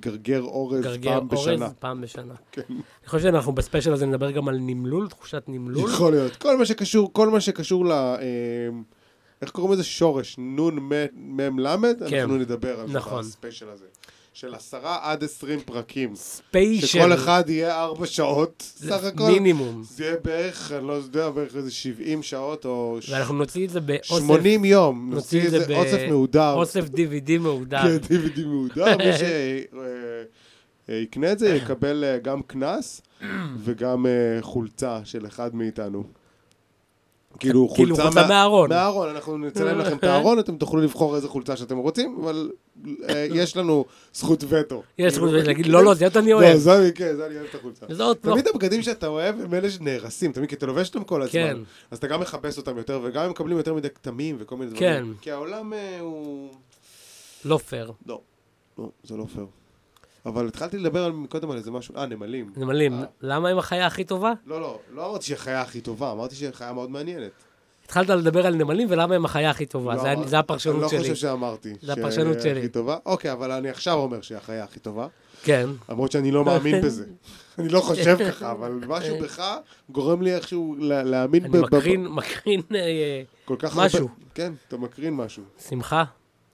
B: גרגר אורז
A: גרגר
B: פעם
A: אורז
B: בשנה.
A: פעם בשנה.
B: כן.
A: אני חושב שאנחנו בספיישל הזה נדבר גם על נמלול, תחושת נמלול.
B: יכול להיות. כל מה שקשור, כל מה שקשור ל... אה, איך קוראים לזה? שורש, נון מ- מם למד,
A: כן.
B: אנחנו נדבר על זה
A: נכון.
B: בספיישל הזה. של עשרה עד עשרים פרקים.
A: ספיישל.
B: שכל אחד יהיה ארבע שעות, סך הכל.
A: מינימום.
B: זה יהיה בערך, אני לא יודע, בערך איזה 70 שעות או ש-
A: ואנחנו נוציא את זה באוסף
B: 80 יום.
A: נוציא
B: נוציא
A: את זה
B: איזה
A: ב-
B: אוסף מהודר.
A: אוסף DVD מהודר.
B: כן, DVD מהודר. מי שיקנה את זה יקבל אה, גם קנס וגם אה, חולצה של אחד מאיתנו. כאילו
A: כאילו
B: חולצה
A: חולצה
B: מה-
A: מהארון.
B: מהארון, אנחנו נצלם לכם את הארון, אתם תוכלו לבחור איזה חולצה שאתם רוצים, אבל אה, יש לנו זכות וטו. כאילו,
A: יש זכות להגיד, לא, לא, זה אותה אני
B: לא,
A: אוהב.
B: זה אני, כן, זה אני אוהב את החולצה.
A: וזאת לא.
B: תמיד הבגדים שאתה אוהב הם אלה שנהרסים, תמיד, כי אתה לובש אותם כל הזמן.
A: כן.
B: אז אתה גם מכבס אותם יותר, וגם הם מקבלים יותר מדי כתמים וכל מיני
A: כן.
B: דברים. כי העולם אה, הוא...
A: לא פייר.
B: לא. לא, זה לא פייר. אבל התחלתי לדבר על- קודם על איזה משהו, אה, נמלים.
A: נמלים,
B: אה.
A: למה הם החיה הכי טובה?
B: לא, לא, לא אמרתי שהיא החיה הכי טובה, אמרתי שהיא חיה מאוד מעניינת.
A: התחלת לדבר על נמלים ולמה הם החיה הכי
B: לא
A: טובה. זה-
B: אמרתי-
A: זה הפרשנות
B: אני לא
A: שלי.
B: חושב שאמרתי.
A: זה הפרשנות
B: שהיא
A: שלי.
B: הכי טובה. אוקיי, אבל אני עכשיו אומר שהיא החיה הכי טובה,
A: כן.
B: למרות שאני לא מאמין בזה. אני לא חושב ככה, אבל משהו בך גורם לי איכשהו לה- להאמין
A: אני
B: ב- ב-
A: מקרין, מקרין אה, אה,
B: כל כך
A: משהו.
B: הרבה... כן, אתה מקרין משהו.
A: שמחה,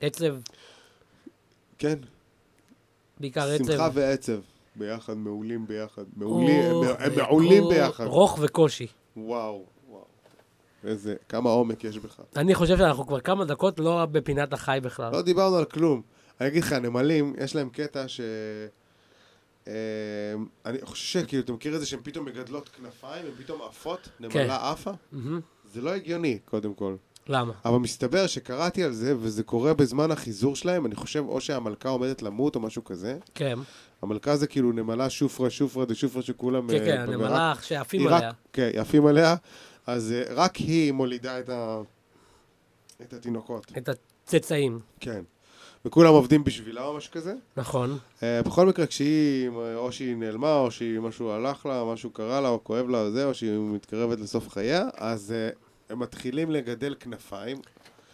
A: עצב,
B: כן,
A: בעיקר עצב.
B: שמחה ועצב. ביחד, מעולים ביחד.
A: אוח
B: מעולים, הם- הם
A: וכוח,
B: מעולים ביחד.
A: רוך וקושי.
B: וואו, וואו. איזה, כמה עומק יש בך.
A: אני חושב שאנחנו כבר כמה דקות לא בפינת החי בכלל.
B: לא דיברנו על כלום. אני אגיד לך, הנמלים, יש להם קטע ש... אמ, אני חושב שכאילו, אתה מכיר את זה שהן פתאום מגדלות כנפיים, הן פתאום עפות?
A: כן.
B: נמלה עפה?
A: מהמם.
B: זה לא הגיוני, קודם כל.
A: למה?
B: אבל מסתבר שקראתי על זה, וזה קורה בזמן החיזור שלהם, אני חושב או שהמלכה עומדת למות או משהו כזה.
A: כן,
B: המלכה זה כאילו נמלה שופרה שופרה דשופרה שכולם...
A: כן,
B: אה,
A: כן,
B: ב-
A: הנמלה שעפים
B: היא רק-
A: עליה.
B: כן, יפים עליה. אז אה, רק היא מולידה את, ה... את התינוקות.
A: את הצאצאים,
B: כן. וכולם עובדים בשבילה או משהו כזה.
A: נכון.
B: אה, בכל מקרה, כשהיא, אה, או שהיא נעלמה, או שהיא משהו הלך לה, משהו קרה לה, או כואב לה, או זה, או שהיא מתקרבת לסוף חייה, אז אה, הם מתחילים לגדל כנפיים.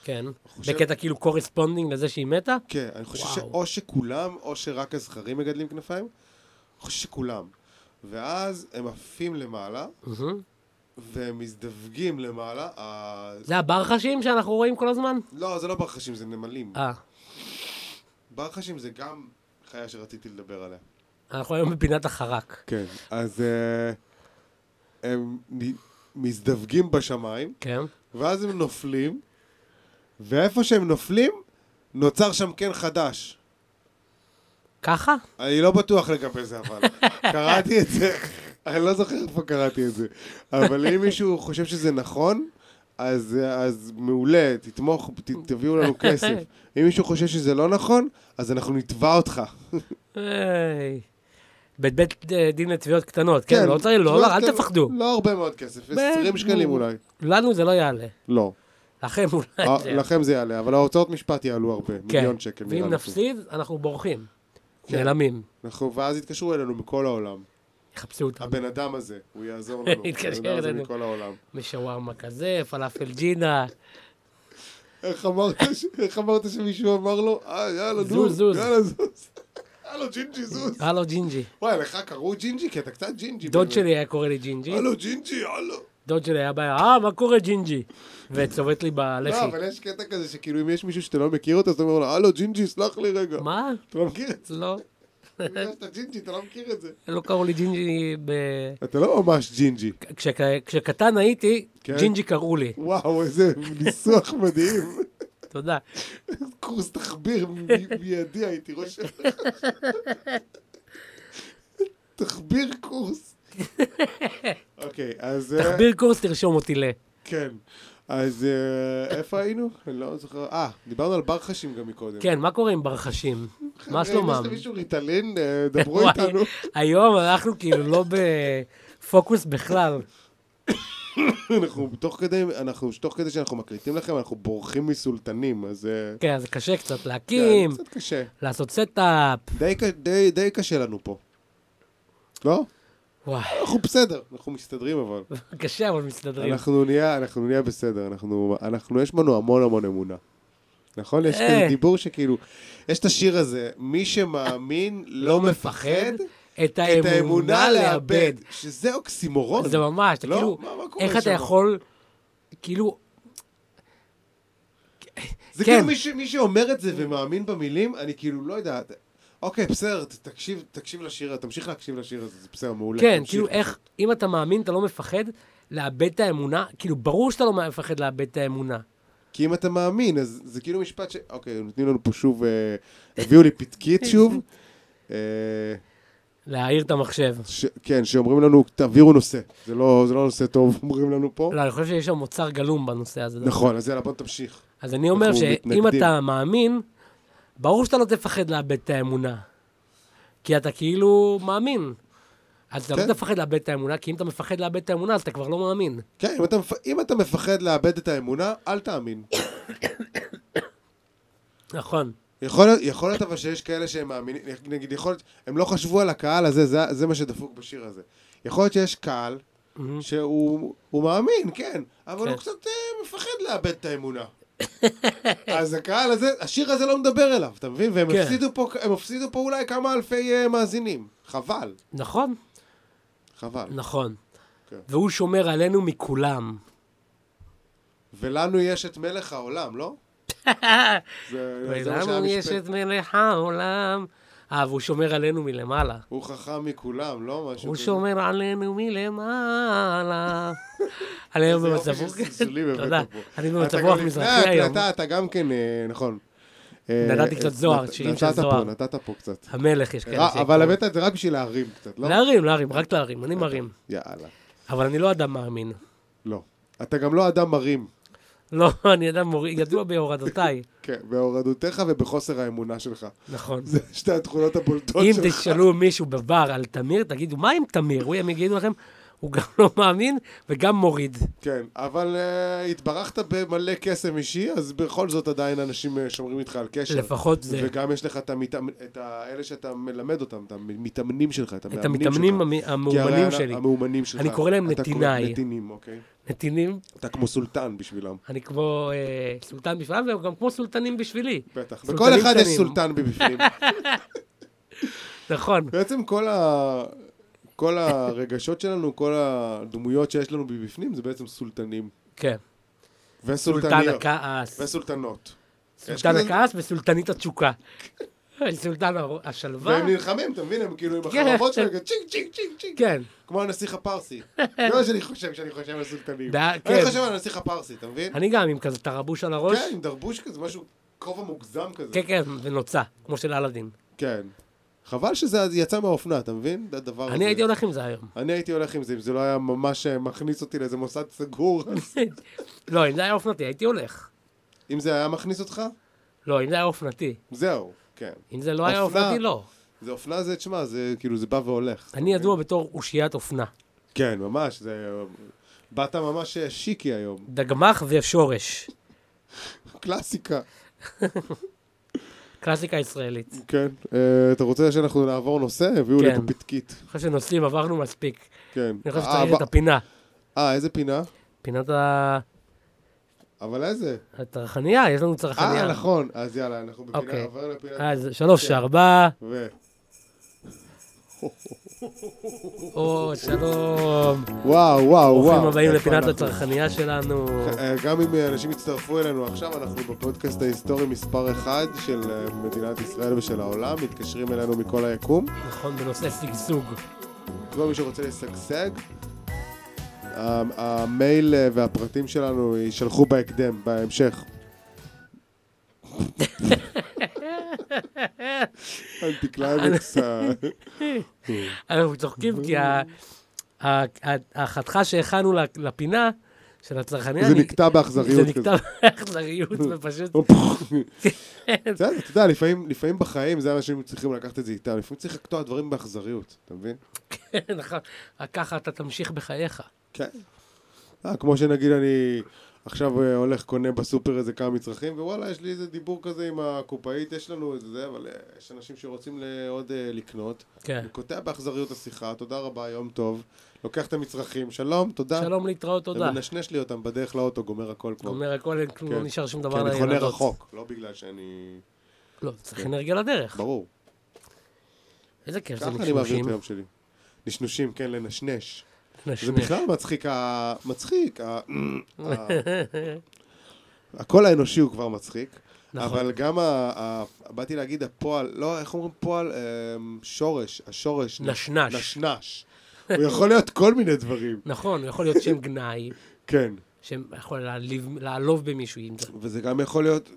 A: כן.
B: חושב-
A: בקטע כאילו קורספונדינג לזה שהיא מתה?
B: כן, אני חושב
A: וואו.
B: שאו שכולם, או שרק הזכרים מגדלים כנפיים. אני חושב שכולם. ואז הם עפים למעלה,
A: מהמם.
B: והם מזדווגים למעלה. ה-
A: זה הברחשים שאנחנו רואים כל הזמן?
B: לא, זה לא ברחשים, זה נמלים.
A: אה,
B: ברחשים זה גם חיה שרציתי לדבר עליה.
A: אנחנו היום בפינת החרק.
B: כן, אז אה, הם נ- מזדווגים בשמיים,
A: כן.
B: ואז הם נופלים, ואיפה שהם נופלים, נוצר שם קן חדש.
A: ככה?
B: אני לא בטוח לגבי זה, אבל קראתי את זה, אני לא זוכר איפה קראתי את זה. אבל אם מישהו חושב שזה נכון, אז, אז מעולה, תתמוך, ת, תביאו לנו כסף. אם מישהו חושב שזה לא נכון, אז אנחנו נתבע אותך.
A: היי. בית בית אה, דין לתביעות קטנות, כן?
B: כן,
A: לא צריך, לא,
B: תביעות
A: לא, אל
B: קטנות.
A: תפחדו.
B: לא הרבה מאוד כסף, 20 שקלים אולי.
A: לנו זה לא יעלה.
B: לא.
A: לכם אולי זה
B: אה, לכם זה יעלה, אבל ההוצאות משפט יעלו הרבה,
A: כן.
B: מיליון שקל נראה
A: ואם
B: לי.
A: נפסיד, אנחנו בורחים.
B: כן.
A: נעלמים.
B: אנחנו- ואז יתקשרו אלינו מכל העולם.
A: יחפשו אותם.
B: הבן אדם הזה, הוא יעזור לנו.
A: יתקשר
B: הבן אדם הזה
A: אלינו.
B: מכל העולם.
A: משווארמה כזה, פלאפל ג'ינה,
B: איך אמרת ש- איך אמרת שמישהו אמר לו, אה, יאללה,
A: זוז,
B: זוז,
A: זוז.
B: יאללה, זוז. הלו, ג'ינג'י, זוז.
A: הלו ג'ינג'י.
B: וואי, לך קראו ג'ינג'י? כי אתה קצת ג'ינג'י.
A: דוד
B: באמת.
A: שלי היה קורא לי ג'ינג'י,
B: הלו, ג'ינג'י, הלו.
A: דוד שלי היה בא, אה, מה קורה ג'ינג'י? וצובט לי
B: לא,
A: בלחי.
B: אבל יש קטע כזה שכאילו אם יש מישהו שאתה לא מכיר אותו, אז אתה אומר לו, הלו, ג'ינג'י, סלח לי רגע.
A: מה?
B: אתה לא מכיר את זה.
A: לא,
B: אתה יודע שאתה ג'ינג'י, אתה לא מכיר את זה.
A: לא קראו לי ג'ינג'י ב...
B: אתה לא ממש ג'ינג'י.
A: כשק- כשקטן הייתי,
B: כן.
A: ג'ינג'י קראו לי.
B: וואו, איזה ניסוח מדהים.
A: תודה.
B: קורס תחביר מ- מיידי הייתי רושם. לך. תחביר קורס. אוקיי, אז... אה,
A: תחביר קורס, תרשום אותי ל...
B: כן. אז אה, איפה היינו? אני לא זוכר. אה, דיברנו על ברחשים גם מקודם.
A: כן, מה קורה עם ברחשים? מה
B: אם
A: שלומם?
B: אה, יש למישהו ריטלין, אה, דברו
A: וואי,
B: איתנו.
A: היום אנחנו כאילו לא בפוקוס בכלל.
B: אנחנו תוך כדי, אנחנו, תוך כדי שאנחנו מקליטים לכם, אנחנו בורחים מסולטנים, אז... אה,
A: כן, זה קשה קצת
B: כן,
A: להקים,
B: קצת קשה.
A: לעשות סטאפ.
B: די ק- די- די קשה לנו פה. לא?
A: וואי,
B: אנחנו בסדר, אנחנו מסתדרים אבל.
A: קשה אבל מסתדרים.
B: אנחנו נהיה, אנחנו נהיה בסדר, אנחנו, אנחנו, יש בנו המון המון אמונה. נכון? יש
A: אה.
B: כזה דיבור שכאילו, יש את השיר הזה, מי שמאמין לא מפחד,
A: את
B: את
A: האמונה לאבד.
B: שזה אוקסימורון.
A: זה ממש, אתה
B: לא,
A: כאילו,
B: מה- מה קורה
A: איך אתה
B: שם?
A: יכול, כאילו,
B: זה
A: כן.
B: כאילו מי, ש, מי שאומר את זה ומאמין במילים, אני כאילו לא יודע. ת- אוקיי, בסדר, ת- תקשיב, תקשיב לשיר, תמשיך להקשיב לשיר הזה, זה בסדר, מעולה.
A: כן,
B: תמשיך.
A: כאילו, איך, אם אתה מאמין, אתה לא מפחד לאבד את האמונה, כאילו, ברור שאתה לא מפחד לאבד את האמונה.
B: כי אם אתה מאמין, אז זה כאילו משפט ש... אוקיי, נותנים לנו פה שוב, אה, הביאו לי פתקית שוב. אה,
A: להעיר את המחשב.
B: ש... כן, שאומרים לנו, תעבירו נושא. זה לא, זה לא נושא טוב, אומרים לנו פה.
A: לא, אני חושב שיש שם מוצר גלום בנושא הזה.
B: נכון, אז יאללה, בוא תמשיך.
A: אז אני אומר
B: אנחנו
A: שאם
B: מתנגדים.
A: אתה מאמין, ברור שאתה לא תפחד לאבד את האמונה. כי אתה כאילו מאמין. אז אתה
B: כן.
A: לא תפחד לאבד את האמונה, כי אם אתה מפחד לאבד את האמונה, אז אתה כבר לא מאמין.
B: כן, אם אתה, מפ... אם אתה מפחד לאבד את האמונה, אל תאמין.
A: נכון.
B: יכול להיות, יכול להיות אבל שיש כאלה שהם מאמינים, נגיד, יכול להיות, הם לא חשבו על הקהל הזה, זה, זה מה שדפוק בשיר הזה. יכול להיות שיש קהל
A: מהמם.
B: שהוא הוא מאמין, כן, אבל
A: כן.
B: הוא קצת אה, מפחד לאבד את האמונה. אז הקהל הזה, השיר הזה לא מדבר אליו, אתה מבין? והם
A: כן.
B: הפסידו פה, הם הפסידו פה אולי כמה אלפי אה, מאזינים. חבל,
A: נכון,
B: חבל.
A: נכון.
B: כן.
A: והוא שומר עלינו מכולם.
B: ולנו יש את מלך העולם, לא? זה, זה מה שהיה
A: ולנו יש
B: משפט.
A: את מלך העולם. אה, והוא שומר עלינו מלמעלה.
B: הוא חכם מכולם, לא? משהו
A: הוא
B: כזה.
A: שומר עלינו מלמעלה. אני היום
B: איזה יופי
A: במצב רוח,
B: של זלזולים הבאת
A: תודה.
B: פה.
A: אני
B: אתה
A: במצב
B: גם
A: רוח
B: לפני
A: מזרחי
B: ההקלטה,
A: היום.
B: אתה גם כן, אה, נכון. אה,
A: נתתי קצת
B: אה,
A: זוהר,
B: נת-
A: שירים
B: נתת
A: של זוהר. כן,
B: פה, נתת פה קצת.
A: המלך יש כאלה
B: רק- אבל
A: שיקראו.
B: הבאת את זה רק בשביל להרים קצת, לא?
A: להרים, להרים, רק להרים, אני מרים.
B: יאללה.
A: אבל אני לא אדם מאמין.
B: לא. אתה גם לא אדם מרים.
A: לא, אני אדם מוריד, ידוע בהורדותיי.
B: כן, בהורדותיך ובחוסר האמונה שלך.
A: נכון.
B: זה שתי התכונות הבולטות
A: אם
B: שלך.
A: תשאלו מישהו בבר על תמיר, תגידו, מה עם תמיר? הוא הם יגידו לכם, הוא גם לא מאמין וגם מוריד.
B: כן, אבל אה, התברכת במלא קסם אישי, אז בכל זאת עדיין אנשים אה, שומרים איתך על קשר.
A: לפחות זה.
B: וגם יש לך את, המתאמ... את האלה שאתה מלמד אותם, את המתאמנים שלך, את המאמנים
A: את
B: שלך.
A: המתאמנים המ-
B: כי הרי
A: המאומנים
B: ה-
A: שלי.
B: המאומנים שלך.
A: אני קורא להם
B: אתה קורא-
A: נתיניי.
B: נתינים, אוקיי.
A: נתינים,
B: אתה כמו סולטן בשבילם.
A: אני כמו אה, סולטן בשבילם, והם גם כמו סולטנים בשבילי.
B: בטח.
A: סולטנים
B: בכל אחד יש
A: קטנים.
B: סולטן בבפנים.
A: נכון.
B: בעצם כל ה... כל הרגשות שלנו, כל הדמויות שיש לנו בבפנים, זה בעצם סולטנים.
A: כן. סולטן
B: וסולטניות.
A: הכעס.
B: וסולטנות. יש
A: סולטן
B: כזה-
A: הכעס וסולטנית התשוקה. אה, סולטן השלווה.
B: והם נלחמים, אתה מבין? הם כאילו עם
A: כן.
B: החרבות שלהם, כזה צ'יק, צ'יק, צ'יק, צ'יק.
A: כן.
B: כמו הנסיך הפרסי. זה מה שאני חושב כשאני חושב על סולטנים.
A: דה- כן.
B: אני חושב על הנסיך הפרסי, אתה מבין?
A: אני גם עם כזה תרבוש על הראש.
B: כן, עם דרבוש כזה, משהו, כובע מוגזם כזה.
A: כן, כן, ונוצה, כמו של אלאדין.
B: כן. חבל שזה יצא מהאופנה, אתה מבין? הדבר הזה.
A: אני הייתי הולך עם זה היום.
B: אני הייתי הולך עם זה, אם זה לא היה ממש אה, מכניס אותי לאיזה מוסד סגור. אז-
A: לא, אם זה היה אופנתי, הייתי הולך.
B: אם זה היה מכניס אותך,
A: לא, אם זה היה אופנתי.
B: זהו, כן.
A: אם זה לא היה
B: אופנה.
A: אופנתי, לא.
B: זה אופנה זה, תשמע, זה כאילו, זה בא והולך.
A: אני ידוע בתור אושיית אופנה.
B: כן, ממש, זה... באת ממש אה, שיקי היום.
A: דגמח ושורש.
B: קלאסיקה.
A: קלאסיקה ישראלית. אני
B: כן. אה, אתה רוצה שאנחנו נעבור נושא? הביאו לי
A: כן.
B: פה פתקית.
A: חושב שנושאים עברנו מספיק.
B: כן.
A: אני חושב
B: אה,
A: שצריך
B: ב-
A: את הפינה.
B: אה, איזה פינה?
A: פינת ה-
B: אבל איזה?
A: הצרכנייה, יש לנו צרכנייה.
B: אה, נכון. כן. אז יאללה, אנחנו בפינה,
A: אוקיי.
B: עובר לפינה.
A: אז שלוש, ארבע,
B: ו...
A: או, שלום.
B: וואו, וואו, וואו.
A: ברוכים הבאים
B: איפה
A: לפינת
B: אנחנו?
A: הצרכנייה שלנו.
B: אה, גם אם אה, אנשים יצטרפו אלינו עכשיו, אנחנו בפודקאסט ההיסטורי מספר 1 של אה, מדינת ישראל ושל העולם, מתקשרים אלינו מכל היקום.
A: נכון, בנושא שגשוג.
B: כל מי שרוצה לשגשג, ה- המייל אה, והפרטים שלנו יישלחו בהקדם, בהמשך. אנטיקליימקס, ה-
A: אנחנו צוחקים כי ה- ה- ה- החתיכה שהכנו ל- לפינה של הצרכנייה,
B: זה
A: אני-
B: נקטע באכזריות
A: זה
B: כזה.
A: נקטע באכזריות, ופשוט...
B: בסדר, אתה יודע, לפעמים- לפעמים בחיים זה אנשים צריכים לקחת את זה איתם, לפעמים צריך לקטוע דברים באכזריות, אתה מבין?
A: נכון, רק ככה אתה תמשיך בחייך.
B: כן. אה, כמו שנגיד אני, עכשיו אה, הולך, קונה בסופר איזה כמה מצרכים, ווואלה, יש לי איזה דיבור כזה עם הקופאית, יש לנו את זה, אבל אה, יש אנשים שרוצים ל- עוד אה, לקנות.
A: כן.
B: אני קוטע באכזריות השיחה, תודה רבה, יום טוב. לוקח את המצרכים, שלום, תודה.
A: שלום, להתראות, תודה.
B: ומנשנש לי אותם בדרך לאוטו, גומר הכל כבר.
A: אומר הכל, אין כלום,
B: כן.
A: לא נשאר שום
B: כי
A: דבר
B: אני חונה
A: לילדות.
B: רחוק, לא בגלל שאני...
A: לא, צריך אנרגיה לדרך.
B: ברור.
A: איזה כיף זה
B: ככה אני מעביר
A: נשנושים.
B: את היום שלי. נשנושים, כן, לנשנש. זה
A: נשנש.
B: בכלל מצחיק, ה- מצחיק. ה- ה- הקול האנושי הוא כבר מצחיק.
A: נכון.
B: אבל גם, ה- ה- באתי להגיד, הפועל, לא, איך אומרים פועל? אמ, שורש, השורש.
A: נשנש.
B: נשנש. הוא יכול להיות כל מיני דברים.
A: נכון, הוא יכול להיות שם גנאי,
B: כן.
A: שיכול להעליב- לעלוב במישהו אם זה.
B: וזה גם יכול להיות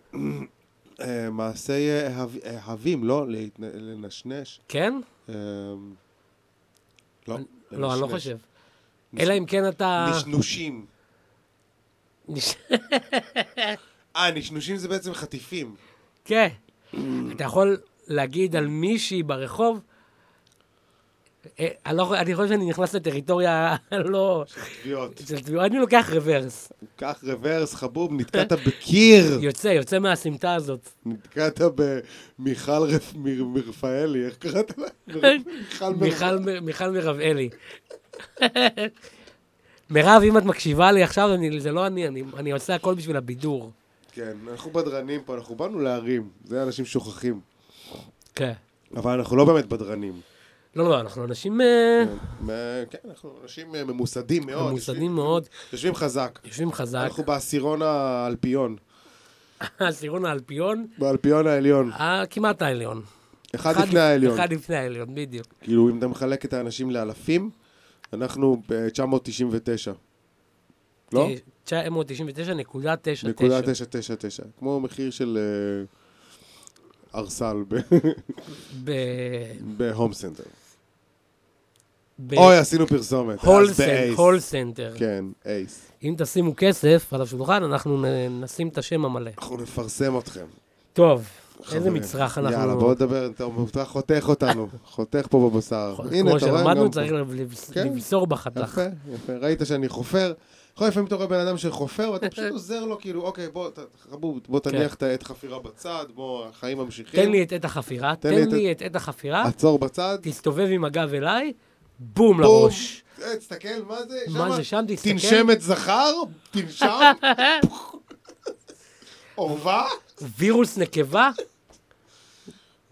B: אה, מעשי אה, אהב- אהבים, לא? להתנ- לנשנש.
A: כן?
B: אמ, לא,
A: לא, אני לא
B: לנשנש.
A: חושב.
B: נש-
A: אלא אם כן אתה...
B: נשנושים.
A: נש-
B: אה, נשנושים זה בעצם חטיפים.
A: כן. אתה יכול להגיד על מישהי ברחוב, אה, אני לא יכול- אני חושב שאני נכנס לטריטוריה לא...
B: טביעות.
A: של תביעות. אני לוקח רוורס.
B: קח רוורס, חבוב, נתקעת בקיר.
A: יוצא, יוצא מהסמטה הזאת.
B: נתקעת במיכל רפ- מיר- מרפאלי, איך קראת לה? מיכל מרפאלי.
A: מיכל מ- מיכל מרבאלי. מירב, אם את מקשיבה לי עכשיו, אני- זה לא אני, אני- אני עושה הכל בשביל הבידור.
B: כן, אנחנו בדרנים פה, אנחנו באנו להרים. זה אנשים שוכחים.
A: כן.
B: אבל אנחנו לא באמת בדרנים.
A: לא, לא, אנחנו אנשים אה,
B: אה, כן, אנחנו אנשים אה, ממוסדים מאוד.
A: ממוסדים מאוד,
B: יושבים- יושבים חזק.
A: יושבים חזק.
B: אנחנו בעשירון האלפיון.
A: העשירון האלפיון,
B: באלפיון העליון.
A: הכמעט העליון.
B: אחד לפני העליון.
A: אחד לפני העליון, בדיוק.
B: כאילו, אם אתה מחלק את האנשים לאלפים, אנחנו אה, ב-999. לא?
A: 999.99.
B: נקודה 999. כמו מחיר של אה, ארסל ב-
A: ב-
B: בהום סנטר.
A: ב-
B: אוי, עשינו פרסומת.
A: הול
B: אז
A: סנטר,
B: באייס.
A: הול סנטר.
B: כן, אייס.
A: אם תשימו כסף על השולחן, אנחנו נ- נשים את השם המלא.
B: אנחנו נפרסם אתכם.
A: טוב, איזה
B: חברים.
A: מצרך
B: יאללה, בואו
A: אנחנו...
B: נדבר, אתה אתה חותך אותנו. חותך פה בבשר. הנה,
A: נכון, כמו
B: אתה רואה, גם
A: שלמדנו,
B: פה.
A: צריך לבס-
B: כן.
A: לבשור בחתך.
B: יפה, יפה. ראית שאני חופר? יכול לפעמים אתה רואה בן אדם שחופר, ואתה פשוט עוזר לו, כאילו, אוקיי, בוא, ת- חבוב, בוא תניח את העט חפירה בצד, בוא, החיים ממשיכים.
A: כן. תן לי את עת החפירה,
B: כן. תן לי
A: תן
B: את-
A: לי את עת החפירה,
B: עצור בצד,
A: תסתובב עם הגב אליי, בום
B: בום.
A: לראש.
B: אה, תסתכל, מה זה?
A: מה
B: שמה-
A: זה שם? תסתכל.
B: תנשמת זכר? תנשם? עורבה?
A: וירוס נקבה,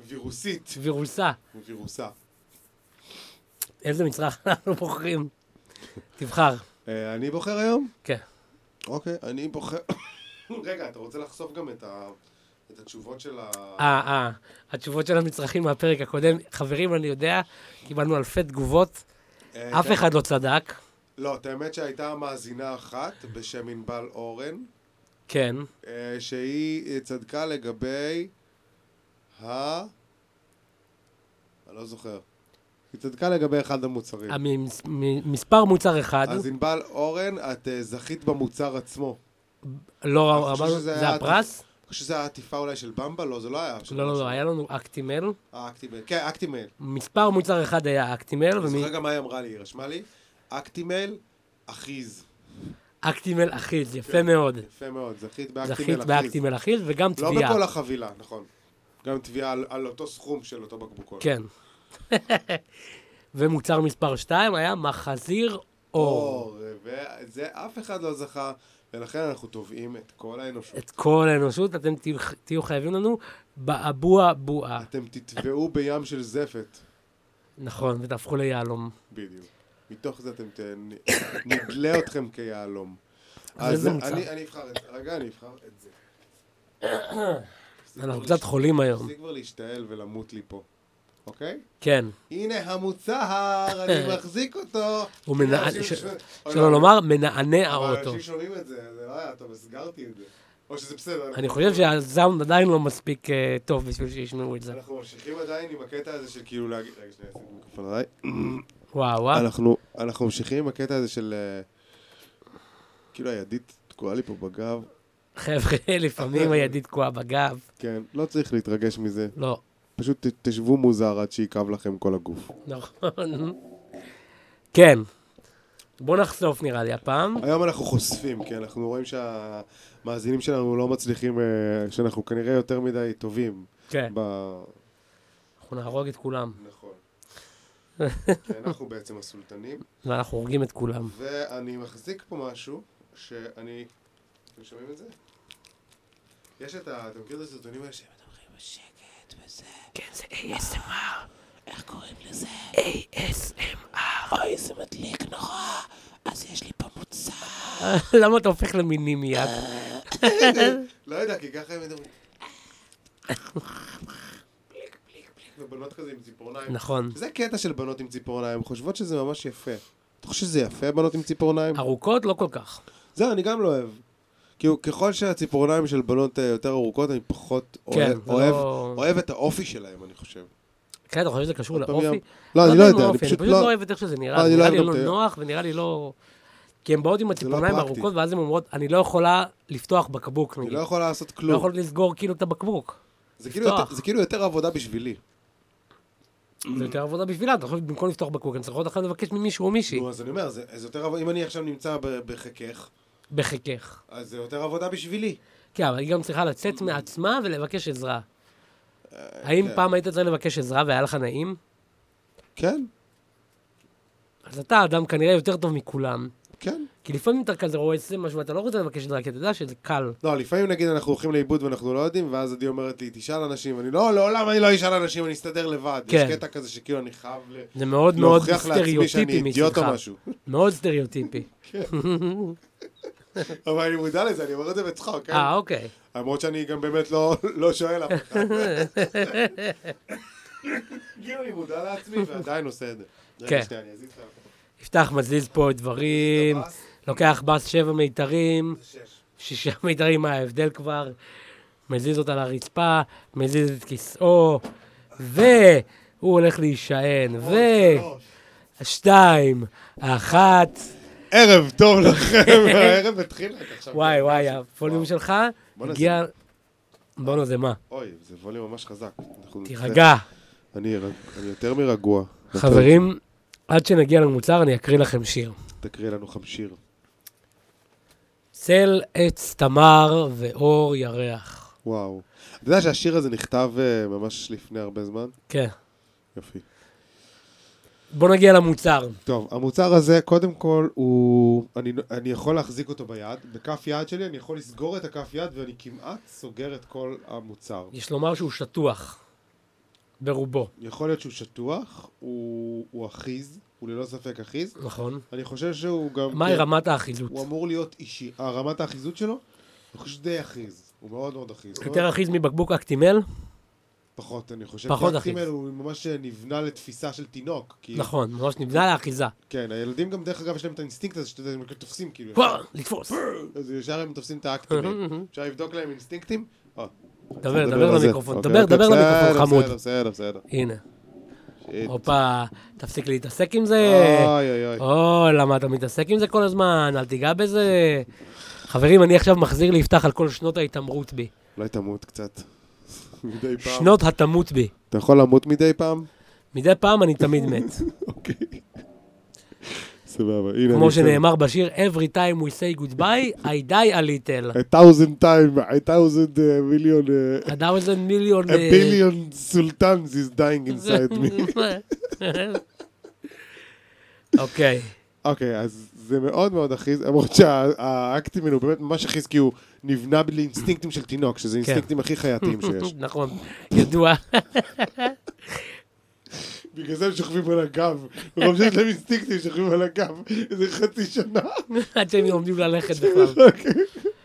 B: וירוסית.
A: וירוסה.
B: וירוסה.
A: איזה מצרך אנחנו בוחרים? תבחר.
B: אה, אני בוחר היום?
A: כן.
B: אוקיי, אני בוחר... רגע, אתה רוצה לחשוף גם את ה- את התשובות של ה...
A: אה, אה, התשובות של המצרכים מהפרק הקודם. חברים, אני יודע, קיבלנו אלפי תגובות,
B: אה,
A: אף
B: כן.
A: אחד לא צדק.
B: לא, את האמת שהייתה מאזינה אחת בשם ענבל אורן,
A: כן,
B: אה, שהיא צדקה לגבי ה... אני לא זוכר. היא צדקה לגבי אחד המוצרים.
A: המס- מ- מספר מוצר אחד,
B: אה. אז ענבל אורן, את אה, זכית במוצר עצמו.
A: לא
B: אני חושב
A: אמרנו,
B: שזה
A: זה
B: היה
A: הפרס?
B: אני חושב שזו הייתה עטיפה אולי של במבה? לא, זה לא היה. של
A: לא, לא,
B: משהו.
A: לא, היה לנו אקטימל.
B: אה, אקטימייל. כן, אקטימייל.
A: מספר מוצר אחד היה אקטימל,
B: אני זוכר גם מה היא אמרה לי, היא רשמה לי. אקטימייל, אחיז.
A: ואקטימל אחיד, יפה מאוד.
B: יפה מאוד, זכית
A: זכית
B: באקטימייל אחיז.
A: באקטימל אחיד וגם
B: כן. לא
A: תביעה.
B: בכל החבילה, נכון. גם תביעה על- על אותו סכום של אותו בקבוקון.
A: כן. ומוצר מספר 2 היה מחזיר אור.
B: אור, וזה אף אחד לא זכה, ולכן אנחנו תובעים את כל האנושות.
A: את כל האנושות, אתם תהיו- תהיו חייבים לנו באבוע בועה.
B: אתם תטבעו בים של זפת,
A: נכון, ותהפכו ליהלום.
B: בדיוק. מתוך זה אתם ת... נדלה אתכם כיהלום.
A: אז
B: אז
A: איזה מוצר?
B: אני אני אבחר את זה, רגע, אני אבחר את זה.
A: אנחנו קצת חולים היום.
B: תפסיק כבר להשתעל ולמות לי פה, אוקיי?
A: כן.
B: הנה המוצר, אני מחזיק אותו.
A: אה. הוא מנע-
B: אנשים
A: ש-
B: ש- אוי,
A: שלא
B: לא,
A: לומר, מנענע
B: אבל
A: האוטו.
B: אנשים שומעים את זה, זה לא היה טוב, הסגרתי את זה. או שזה בסדר.
A: אני חושב שהזאונד עדיין לא מספיק אה, טוב בשביל שישמעו את זה.
B: אנחנו ממשיכים עדיין עם הקטע הזה של כאילו להגיד... רגע, שנייה, שים את המיקרופון עליי.
A: וואו, אה. וואו.
B: אנחנו, אנחנו ממשיכים עם הקטע הזה של... אה, כאילו הידית תקועה לי פה בגב.
A: חבר'ה, לפעמים הידית תקועה בגב.
B: כן, לא צריך להתרגש מזה.
A: לא,
B: פשוט ת, תשבו מוזר עד שיכאב לכם כל הגוף.
A: נכון. כן, בוא נחשוף נראה לי הפעם.
B: היום אנחנו חושפים, כי אנחנו רואים שהמאזינים שלנו לא מצליחים, אה, שאנחנו כנראה יותר מדי טובים.
A: כן,
B: ב...
A: אנחנו נהרוג את כולם,
B: נכון. כי אנחנו בעצם הסולטנים,
A: ואנחנו הורגים את כולם.
B: ואני מחזיק פה משהו שאני... אתם שומעים את זה? יש את ה... אתם מכירים את הסרטונים האלה שהם מדברים בשקט וזה...
A: כן, זה ASMR.
B: איך קוראים לזה?
A: ASMR.
B: אוי, זה מדליק נורא! אז יש לי פה מוצר.
A: למה אתה הופך למיני מיד?
B: לא יודע, כי ככה הם מדברים. פליק, פליק, פליק, ובנות כזה עם ציפורניים.
A: נכון.
B: זה קטע של בנות עם ציפורניים, חושבות שזה ממש יפה. אתה חושב שזה יפה, בנות עם ציפורניים?
A: ארוכות? לא כל כך.
B: זהו, אני גם לא אוהב. כאילו, ככל שהציפורניים של בנות אה, יותר ארוכות, אני פחות אוהב-
A: זה
B: אוהב-
A: לא-
B: אוהב את האופי שלהם, אני חושב.
A: כן, אתה חושב שזה קשור
B: עוד פעם
A: לאופי?
B: ים. לא, אני לא
A: יודע אם
B: יודע, אני
A: האופי,
B: פשוט
A: לא
B: לא...
A: אוהב את איך שזה נראה.
B: לא, אני
A: זה
B: לא
A: נראה
B: אוהב
A: לי
B: גם
A: לא
B: את ה-
A: נוח ונראה לי לא... כי הן באות עם
B: זה לא
A: הציפורניים
B: פרקטי.
A: ארוכות, ואז הן אומרות, אני לא יכולה לפתוח בקבוק,
B: אני
A: נגיד.
B: לא יכול לעשות
A: לא
B: כלום.
A: יכולת לסגור כאילו את הבקבוק.
B: זה כאילו יותר-
A: לפתוח.
B: זה כאילו יותר עבודה בשבילי. Mm.
A: זה יותר עבודה בשבילה, אתה חושב במקום לפתוח בקבוק, הן צריכות עכשיו לבקש ממישהו או מישהי.
B: נו, אז אני אומר, זה זה יותר עבודה, אם אני עכשיו נמצא ב- בחיקך,
A: בחיקך.
B: אז זה יותר עבודה בשבילי.
A: כן, אבל היא גם צריכה לצאת מעצמה ולבקש עזרה. האם
B: אוקיי. כן.
A: פעם היית צריך לבקש עזרה והיה לך נעים?
B: כן,
A: אז אתה אדם כנראה יותר טוב מכולם.
B: כן.
A: כי לפעמים אתה כזה רואה איזה משהו ואתה לא רוצה לבקש עזרה, כי אתה יודע שזה קל.
B: לא, לפעמים נגיד אנחנו הולכים לאיבוד ואנחנו לא יודעים, ואז עדי אומרת לי, תשאל אנשים, אני לא, לעולם אני לא אשאל אנשים, אני אסתדר לבד.
A: כן.
B: יש קטע כזה שכאילו אני חייב ל-
A: זה מאוד מאוד
B: להוכיח לעצמי שאני
A: סטריאוטיפי
B: אידיוט או
A: מצדך.
B: משהו.
A: מאוד סטריאוטיפי.
B: אבל אני מודע לזה, אני אומר את זה בצחוק, כן?
A: אה, אוקיי.
B: למרות שאני גם באמת לא- לא שואל אף אחד. כאילו אני מודע לעצמי ועדיין עושה את זה. רגע,
A: כן.
B: שנייה, אני אזיז את ה-
A: יפתח מזיז פה דברים,
B: הבאס,
A: לוקח בס שבע מיתרים,
B: זה שש.
A: שישה מיתרים, מה ההבדל כבר? מזיז אותה לרצפה, מזיז את כיסאו, והוא הולך להישען, ו...
B: שלוש.
A: שתיים, אחת,
B: ערב טוב לכם, הערב התחיל רק עכשיו.
A: וואי וואי, הווליום
B: וואו.
A: שלך
B: בואנה,
A: הגיע... בואנה זה מה?
B: אוי, זה ווליום ממש חזק. אנחנו-
A: תירגע.
B: אני רג- אני יותר מרגוע.
A: חברים, עד שנגיע למוצר אני אקריא לכם שיר.
B: תקריא לנו חמשיר.
A: צל עץ תמר ואור ירח.
B: וואו. אתה יודע שהשיר הזה נכתב אה, ממש לפני הרבה זמן?
A: כן.
B: יופי.
A: בוא נגיע למוצר.
B: טוב, המוצר הזה, קודם כל, הוא... אני, אני יכול להחזיק אותו ביד. בכף יד שלי אני יכול לסגור את הכף יד ואני כמעט סוגר את כל המוצר.
A: יש לומר שהוא שטוח. ברובו,
B: יכול להיות שהוא שטוח, הוא, הוא אחיז, הוא ללא ספק אחיז.
A: נכון?
B: אני חושב שהוא גם... כן,
A: מהי רמת האחיזות?
B: אוקיי. הוא אמור להיות אישי. אה, רמת האחיזות שלו? אני חושב שדי אחיז. הוא מאוד מאוד אחיז.
A: יותר אחיז מבקבוק אקטימל?
B: פחות, אני חושב.
A: פחות
B: כי
A: אחיז.
B: האקטימל הוא ממש אה, נבנה לתפיסה של תינוק. כי...
A: נכון, ממש נבנה לאחיזה.
B: כן, הילדים גם דרך אגב יש להם את האינסטינקט הזה שאתה יודע, הם תופסים כאילו.
A: וואו, לתפוס.
B: אז ישר הם תופסים את האקטיבים. אפשר לבדוק להם אינסטינקטים? אה,
A: דבר,
B: על
A: דבר
B: זה.
A: למיקרופון,
B: אוקיי,
A: דבר,
B: אוקיי,
A: דבר
B: בסדר,
A: למיקרופון חמוד. אוקיי.
B: בסדר, בסדר, בסדר.
A: הנה,
B: שיט.
A: הופה, תפסיק להתעסק עם זה.
B: אוי אוי אוי.
A: או, למה אתה מתעסק עם זה כל הזמן? אל תיגע בזה. חברים, אני עכשיו מחזיר ליפתח על כל שנות ההתעמרות בי.
B: אולי תמות קצת. מדי פעם.
A: שנות התמות בי.
B: אתה יכול למות מדי פעם?
A: מדי פעם אני תמיד מת.
B: אוקיי. סבבה, הנה.
A: כמו
B: אני
A: שנאמר בשיר, Every time we say goodby, I die a little.
B: שם. A thousand time, a thousand uh, million, uh,
A: A thousand million...
B: a
A: אה,
B: billion sultans is dying inside me.
A: אוקיי.
B: אוקיי, אז זה מאוד מאוד אחיז, למרות שהאקטימל הוא באמת ממש אחיז, כי הוא נבנה לאינסטינקטים של תינוק,
A: כן.
B: שזה האינסטינקטים הכי חייתיים שיש.
A: נכון, ידוע.
B: בגלל זה הם שוכבים על הגב. מרוב שיש להם אינסטינקטים, שוכבים על הגב. איזה חצי שנה.
A: עד שהם לומדים ללכת בכלל.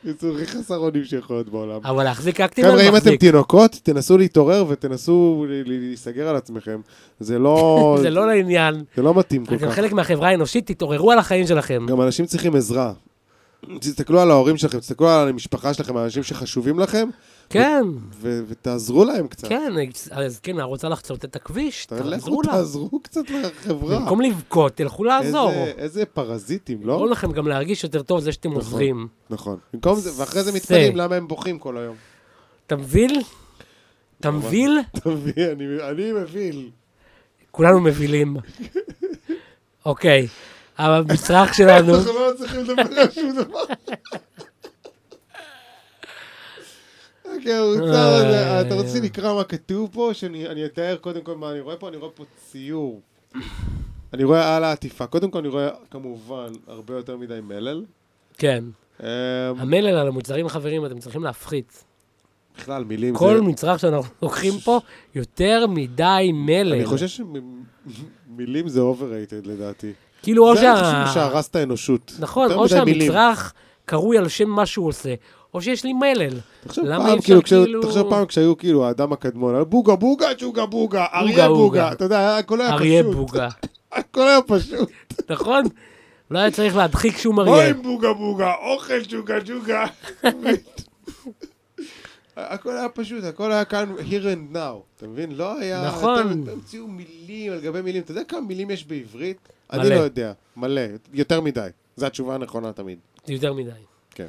B: יצאו הכי חסר אונים שיכול להיות בעולם.
A: אבל להחזיק אקטימל
B: חבר'ה, אם אתם
A: מחזיק.
B: תינוקות, תנסו להתעורר ותנסו ל- ל- להיסגר על עצמכם. זה לא...
A: זה לא לעניין.
B: זה לא מתאים כל
A: אתם
B: כך.
A: חלק מהחברה האנושית, תתעוררו על החיים שלכם.
B: גם אנשים צריכים עזרה. תסתכלו על ההורים שלכם, תסתכלו על המשפחה שלכם, על האנשים שחשובים לכם,
A: כן,
B: ו- ותעזרו להם קצת.
A: כן, אז כן, רוצה לחצות את הכביש,
B: לכו
A: תעזרו לה.
B: תעזרו קצת לחברה.
A: במקום לבכות, תלכו לעזור.
B: לא איזה- איזה פרזיטים, לא?
A: גורם לכם גם להרגיש יותר טוב זה שאתם עוזרים.
B: נכון. במקום זה, ואחרי זה מתפלאים
A: זה.
B: למה הם בוכים כל היום.
A: אתה מבין? אתה מבין?
B: אתה מבין? אני- אני מבין.
A: כולנו מבילים. אוקיי, המצרך שלנו,
B: אנחנו לא צריכים לדבר על שום דבר. אוקיי, הוא צר הזה. אתה רוצה לקרוא מה כתוב פה? שאני אני אתאר קודם כל מה אני רואה פה? אני רואה פה ציור. אני רואה על העטיפה. קודם כל אני רואה כמובן הרבה יותר מדי מלל.
A: כן.
B: אמ,
A: המלל על המוצרים החברים, אתם צריכים להפחית.
B: בכלל, מילים זה...
A: כל מצרך שאנחנו לוקחים פה, יותר מדי מלל.
B: אני חושב שמילים זה overrated לדעתי.
A: כאילו, או
B: זה אני
A: שה...
B: חושב שהרס את האנושות.
A: נכון,
B: יותר
A: או
B: מדי מילים.
A: שהמצרך קרוי על שם מה שהוא עושה, או שיש לי מלל.
B: תחשוב
A: למה אי
B: פעם,
A: אפשר
B: כאילו, כש-
A: כאילו-
B: תחשוב פעם כשהיו כאילו האדם הקדמון, היה בוגה בוגה צ'וגה בוגה,
A: בוגה,
B: אריה
A: בוגה.
B: בוגה, אתה יודע, הכל היה
A: אריה
B: אה, פשוט,
A: בוגה,
B: הכל היה פשוט,
A: נכון? לא היה צריך להדחיק שום אריה.
B: אוי בוגה בוגה, אוכל צ'וגה צ'וגה, הכל היה פשוט, הכל היה כאן here and now, אתה מבין? לא היה,
A: נכון.
B: אתם- אתם המציאו מילים על גבי מילים, אתה יודע כמה מילים יש בעברית?
A: מלא.
B: אני לא יודע, מלא, יותר מדי, זו התשובה הנכונה תמיד,
A: יותר מדי.
B: כן.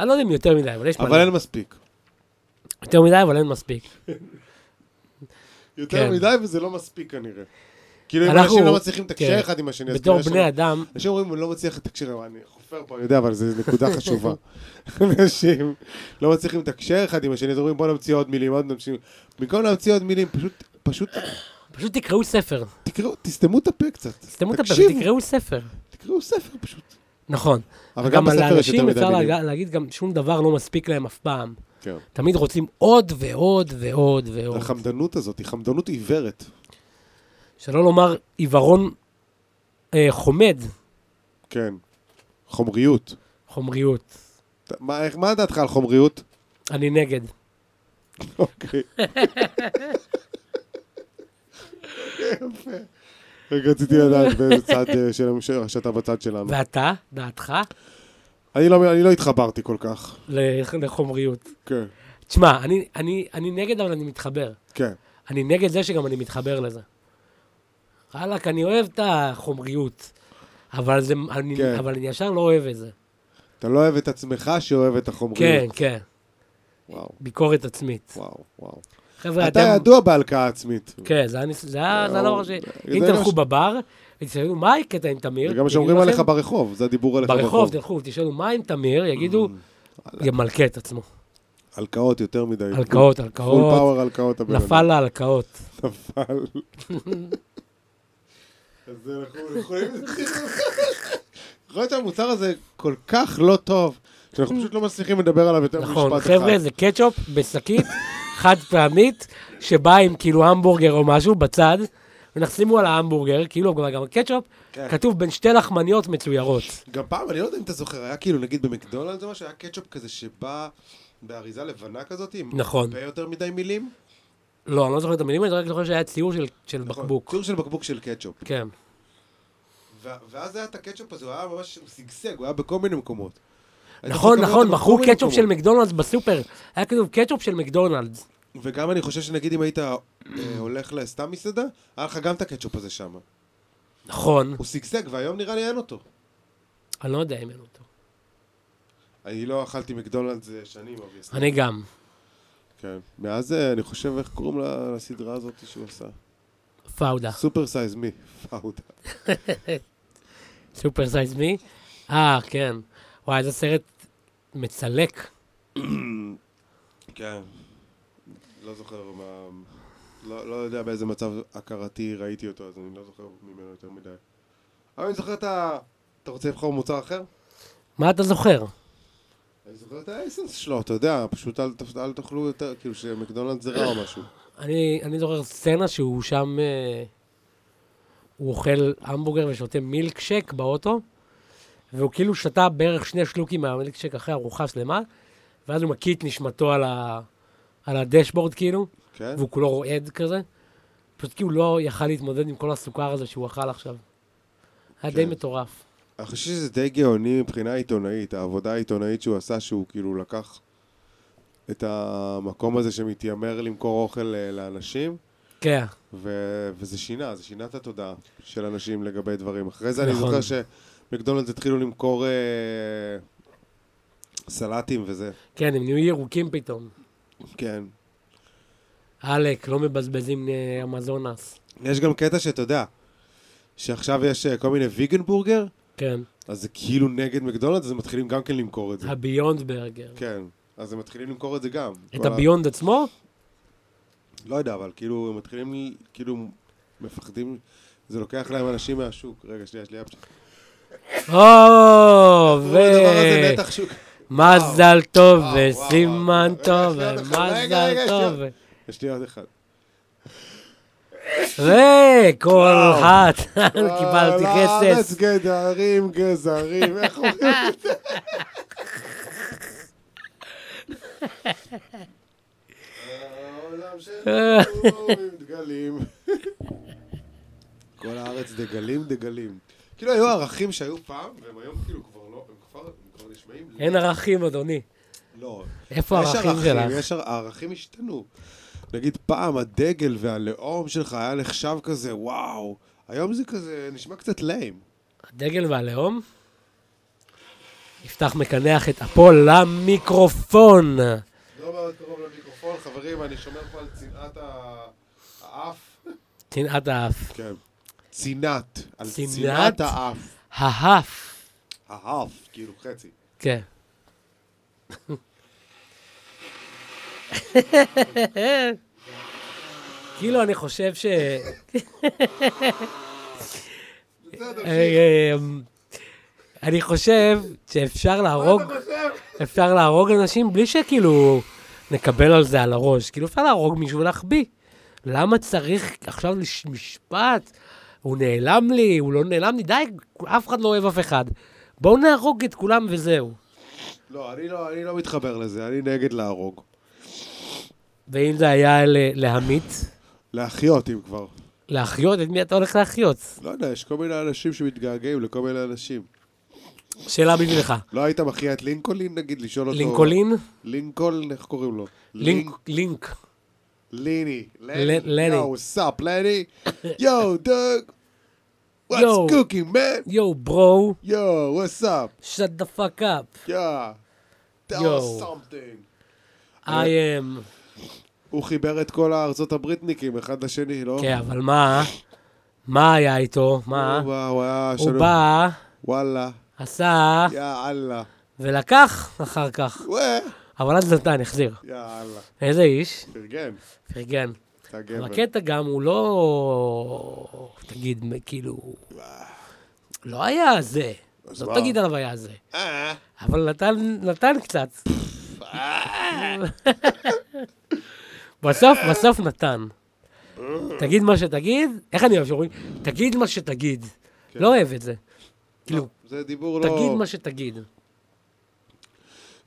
A: אני לא יודע אם יותר מדי, אבל יש
B: אבל
A: מלא.
B: אין מספיק,
A: יותר מדי, אבל אין מספיק.
B: יותר
A: כן.
B: מדי וזה לא מספיק כנראה. כאילו אם
A: אנחנו-
B: אנשים לא מצליחים
A: כן.
B: לתקשר אחד עם השני, אז
A: בתור
B: כנראה שהם-
A: בני אדם,
B: אנשים אומרים, הוא לא מצליח לתקשר, אני חופר פה, אני יודע, אבל זו נקודה חשובה. אנשים לא מצליחים לתקשר אחד עם השני, אז אומרים, בוא נמציא עוד מילים, עוד נמשיך. במקום להמציא עוד מילים, פשוט, פשוט
A: פשוט תקראו ספר.
B: תקראו, תסתמו את הפה קצת.
A: תסתמו את הפה
B: תקשיבו,
A: ותקראו ספר.
B: תקראו ספר פשוט.
A: נכון.
B: אבל
A: גם
B: גם בספר יש יותר
A: לאנשים
B: מדי
A: אפשר
B: מילים.
A: להג- להגיד גם שום דבר לא מספיק להם אף פעם.
B: כן.
A: תמיד רוצים עוד ועוד ועוד ועוד.
B: החמדנות הזאת היא חמדנות עיוורת.
A: שלא לומר עיוורון אה, חומד,
B: כן. חומריות.
A: חומריות.
B: ת- מה איך- מה דעתך על חומריות?
A: אני נגד.
B: אוקיי. יפה. רק רציתי לדעת באיזה צד אה, של הממשלה, שאתה בצד שלנו.
A: ואתה, דעתך,
B: אני לא, אני לא התחברתי כל כך.
A: לח- לחומריות.
B: כן.
A: תשמע, אני, אני, אני נגד, אבל אני מתחבר.
B: כן.
A: אני נגד זה שגם אני מתחבר לזה. וואלכ, אני אוהב את החומריות, אבל, זה, אני,
B: כן.
A: אבל אני ישר לא אוהב את זה.
B: אתה לא אוהב את עצמך שאוהב את
A: כן,
B: החומריות.
A: כן,
B: וואו,
A: ביקורת עצמית.
B: וואו, וואו.
A: חבר'ה,
B: אתה
A: אתם...
B: ידוע בהלקאה עצמית.
A: כן, זה היה ניס- זה היה זה היה לא
B: או-
A: ראשי.
B: אה, זה
A: אם
B: גם
A: תלכו
B: ש-
A: בבר, ותשאלו, מה הקטע עם תמיר?
B: זה גם מה שאומרים
A: יגידו
B: עליך
A: לכם,
B: ברחוב, זה הדיבור עליך
A: ברחוב. כן.
B: ברחוב. אה,
A: תלכו, תשאלו, מה עם תמיר? יגידו, ימלכה את עצמו.
B: הלקאות יותר מדי.
A: הלקאות,
B: פול
A: הלקאות.
B: פאוור הלקאות הבן אדם.
A: נפל לה הלקאות.
B: נפל. אז אנחנו יכולים... יכול להיות שהמוצר הזה כל כך לא טוב, שאנחנו פשוט לא מצליחים לדבר עליו יותר ממשפט אחד.
A: נכון, חבר'ה, זה קטשופ בשקית חד פעמית, שבאה עם כאילו המבורגר או משהו בצד, ונחסימו על ההמבורגר, כאילו גם גם הקטשופ,
B: כן.
A: כתוב בין שתי לחמניות מצוירות.
B: גם פעם, אני לא יודע אם אתה זוכר, היה כאילו נגיד במקדונלדס או משהו, היה קטשופ כזה שבא באריזה לבנה כזאת, עם
A: נכון.
B: הרבה יותר מדי מילים.
A: לא, אני לא זוכר את המילים, אני רק זוכר שהיה ציור של- של בקבוק.
B: נכון. ציור של בקבוק של קטשופ.
A: כן.
B: ו- ואז היה את הקטשופ הזה, הוא היה ממש הוא שגשג, הוא היה בכל מיני מקומות. אני
A: נכון,
B: זוכר
A: נכון,
B: אותו
A: מכרו
B: בכל מיני
A: קטשופ של
B: מקומות.
A: מקדונלדס בסופר. היה כתוב קטשופ של מקדונלדס.
B: וגם אני חושב שנגיד אם היית אה, הולך לסתם מסעדה, היה לך גם את הקטשופ הזה שם.
A: נכון,
B: הוא שגשג, והיום נראה לי אין אותו.
A: אני לא יודע אם אין אותו.
B: אני לא אכלתי מקדונלדס אה, שנים, אבל סתם.
A: אני גם.
B: כן. מאז אה, אני חושב, איך קוראים ל- לסדרה הזאת שהוא עשה?
A: פאודה.
B: סופר סייז מי, פאודה.
A: סופר סייז מי? אה, כן. וואי, איזה סרט מצלק.
B: כן. לא זוכר מה... לא, לא יודע באיזה מצב הכרתי ראיתי אותו, אז אני לא זוכר ממנו יותר מדי. אבל אני זוכר את ה... אתה רוצה לבחור מוצר אחר?
A: מה אתה זוכר?
B: אני זוכר את האסנס שלו, אתה יודע, פשוט אל, ת- אל תאכלו יותר, כאילו שמקדונלד זה רע או משהו.
A: אני, אני זוכר סצנה שהוא שם, אה, הוא אוכל המבורגר ושותה מילקשק באוטו, והוא כאילו שתה בערך שני שלוקים מהמילקשק אחרי ארוחה שלמה, ואז הוא מקיא את נשמתו על, ה, על הדשבורד כאילו,
B: כן?
A: והוא כולו רועד כזה. פשוט כי הוא לא יכל להתמודד עם כל הסוכר הזה שהוא אכל עכשיו. היה די
B: כן.
A: מטורף.
B: אני חושב שזה די גאוני מבחינה עיתונאית, העבודה העיתונאית שהוא עשה, שהוא כאילו לקח את המקום הזה שמתיימר למכור אוכל אה, לאנשים,
A: כן,
B: ו- וזה שינה, זה שינה את התודעה של אנשים לגבי דברים. אחרי זה אני
A: נכון.
B: זוכר שמקדונלדס התחילו למכור אה, סלטים וזה.
A: כן, הם נהיו ירוקים פתאום.
B: כן.
A: עלק, לא מבזבזים אה, אמזונס.
B: יש גם קטע שאתה יודע, שעכשיו יש אה, כל מיני ויגן בורגר,
A: כן,
B: אז זה כאילו נגד מקדונלדס, אז הם מתחילים גם כן למכור את זה.
A: הביונד ברגר.
B: כן, אז הם מתחילים למכור את זה גם.
A: את
B: כל ה-
A: הביונד עצמו?
B: לא יודע, אבל כאילו, הם מתחילים, ל- כאילו, מפחדים, זה לוקח להם אנשים מהשוק. רגע, שנייה, שנייה.
A: או, ו...
B: ו... הדבר הזה נתח שוק.
A: אה, מזל טוב
B: וואו, וואו,
A: וסימן
B: וואו.
A: טוב
B: רגע, שנייה, עוד אחד. רגע,
A: ומזל
B: רגע,
A: טוב.
B: שנייה. יש לי עוד אחד.
A: וכל אחת,
B: אה,
A: אה, קיבלתי
B: לארץ
A: כסף.
B: גדרים, גזרים, איך אומרים? העולם
A: אה.
B: שלנו עם דגלים. כל הארץ דגלים, דגלים. כאילו היו ערכים שהיו פעם, והם היום כאילו כבר לא, הם כבר, הם כבר נשמעים...
A: אין ערכים, אדוני.
B: לא.
A: איפה
B: יש
A: הערכים שלך?
B: יש ער- הערכים השתנו. נגיד פעם הדגל והלאום שלך היה נחשב כזה, וואו. היום זה כזה, נשמע קצת ליים.
A: הדגל והלאום? יפתח מקנח את אפו למיקרופון.
B: לא מאוד קרוב למיקרופון, חברים, אני שומר פה על צנעת ה- האף.
A: צנעת האף.
B: כן. צנעת. על
A: צנעת?
B: צנעת האף.
A: ההף.
B: האף, כאילו חצי.
A: כן. כאילו, אני חושב ש...
B: בסדר, שיט.
A: אמ, אני חושב שאפשר
B: מה
A: להרוג,
B: אתה חושב?
A: אפשר להרוג אנשים בלי שכאילו נקבל על זה על הראש. כאילו, אפשר להרוג מישהו ולהחביא. למה צריך עכשיו לש- משפט? הוא נעלם לי, הוא לא נעלם לי, די, אף אחד לא אוהב אף אחד. בואו נהרוג את כולם וזהו.
B: לא, אני לא, אני לא מתחבר לזה, אני נגד להרוג.
A: ואם זה היה ל- להמית?
B: להחיות, אם כבר.
A: להחיות? את מי אתה הולך להחיות?
B: לא יודע, יש כל מיני אנשים שמתגעגעים לכל מיני אנשים.
A: שאלה בשבילך.
B: לא היית מחיה את לינקולין, נגיד, לשאול אותו...
A: לינקולין?
B: לינקולן, איך קוראים לו?
A: לינק. לינק.
B: ליני.
A: ל- לני.
B: יואו, סאפ, לני. יואו, דוג.
A: Yo.
B: What's cooking, man?
A: יואו, ברו,
B: Yo, what's up?
A: shut the fuck up.
B: Yeah. Tell
A: Yo.
B: us something. אה,
A: I am...
B: הוא חיבר את כל הארצות הבריטניקים אחד לשני, לא?
A: כן, אבל מה? מה היה איתו? מה?
B: הוא בא, הוא היה...
A: הוא
B: שלום.
A: בא,
B: וואלה.
A: עשה,
B: יא אללה.
A: ולקח אחר כך.
B: וואה.
A: אבל אז נתן, החזיר.
B: יא אללה.
A: איזה איש?
B: פרגן.
A: פרגן.
B: אתה גבר.
A: הקטע גם הוא לא... תגיד, כאילו... לא היה זה. לא
B: מה?
A: תגיד עליו היה זה.
B: אה,
A: אבל נתן, נתן קצת. בסוף, בסוף נתן. תגיד מה שתגיד, איך אני אוהב שאומרים? תגיד מה שתגיד. לא אוהב את זה. כאילו,
B: זה דיבור לא...
A: תגיד מה שתגיד.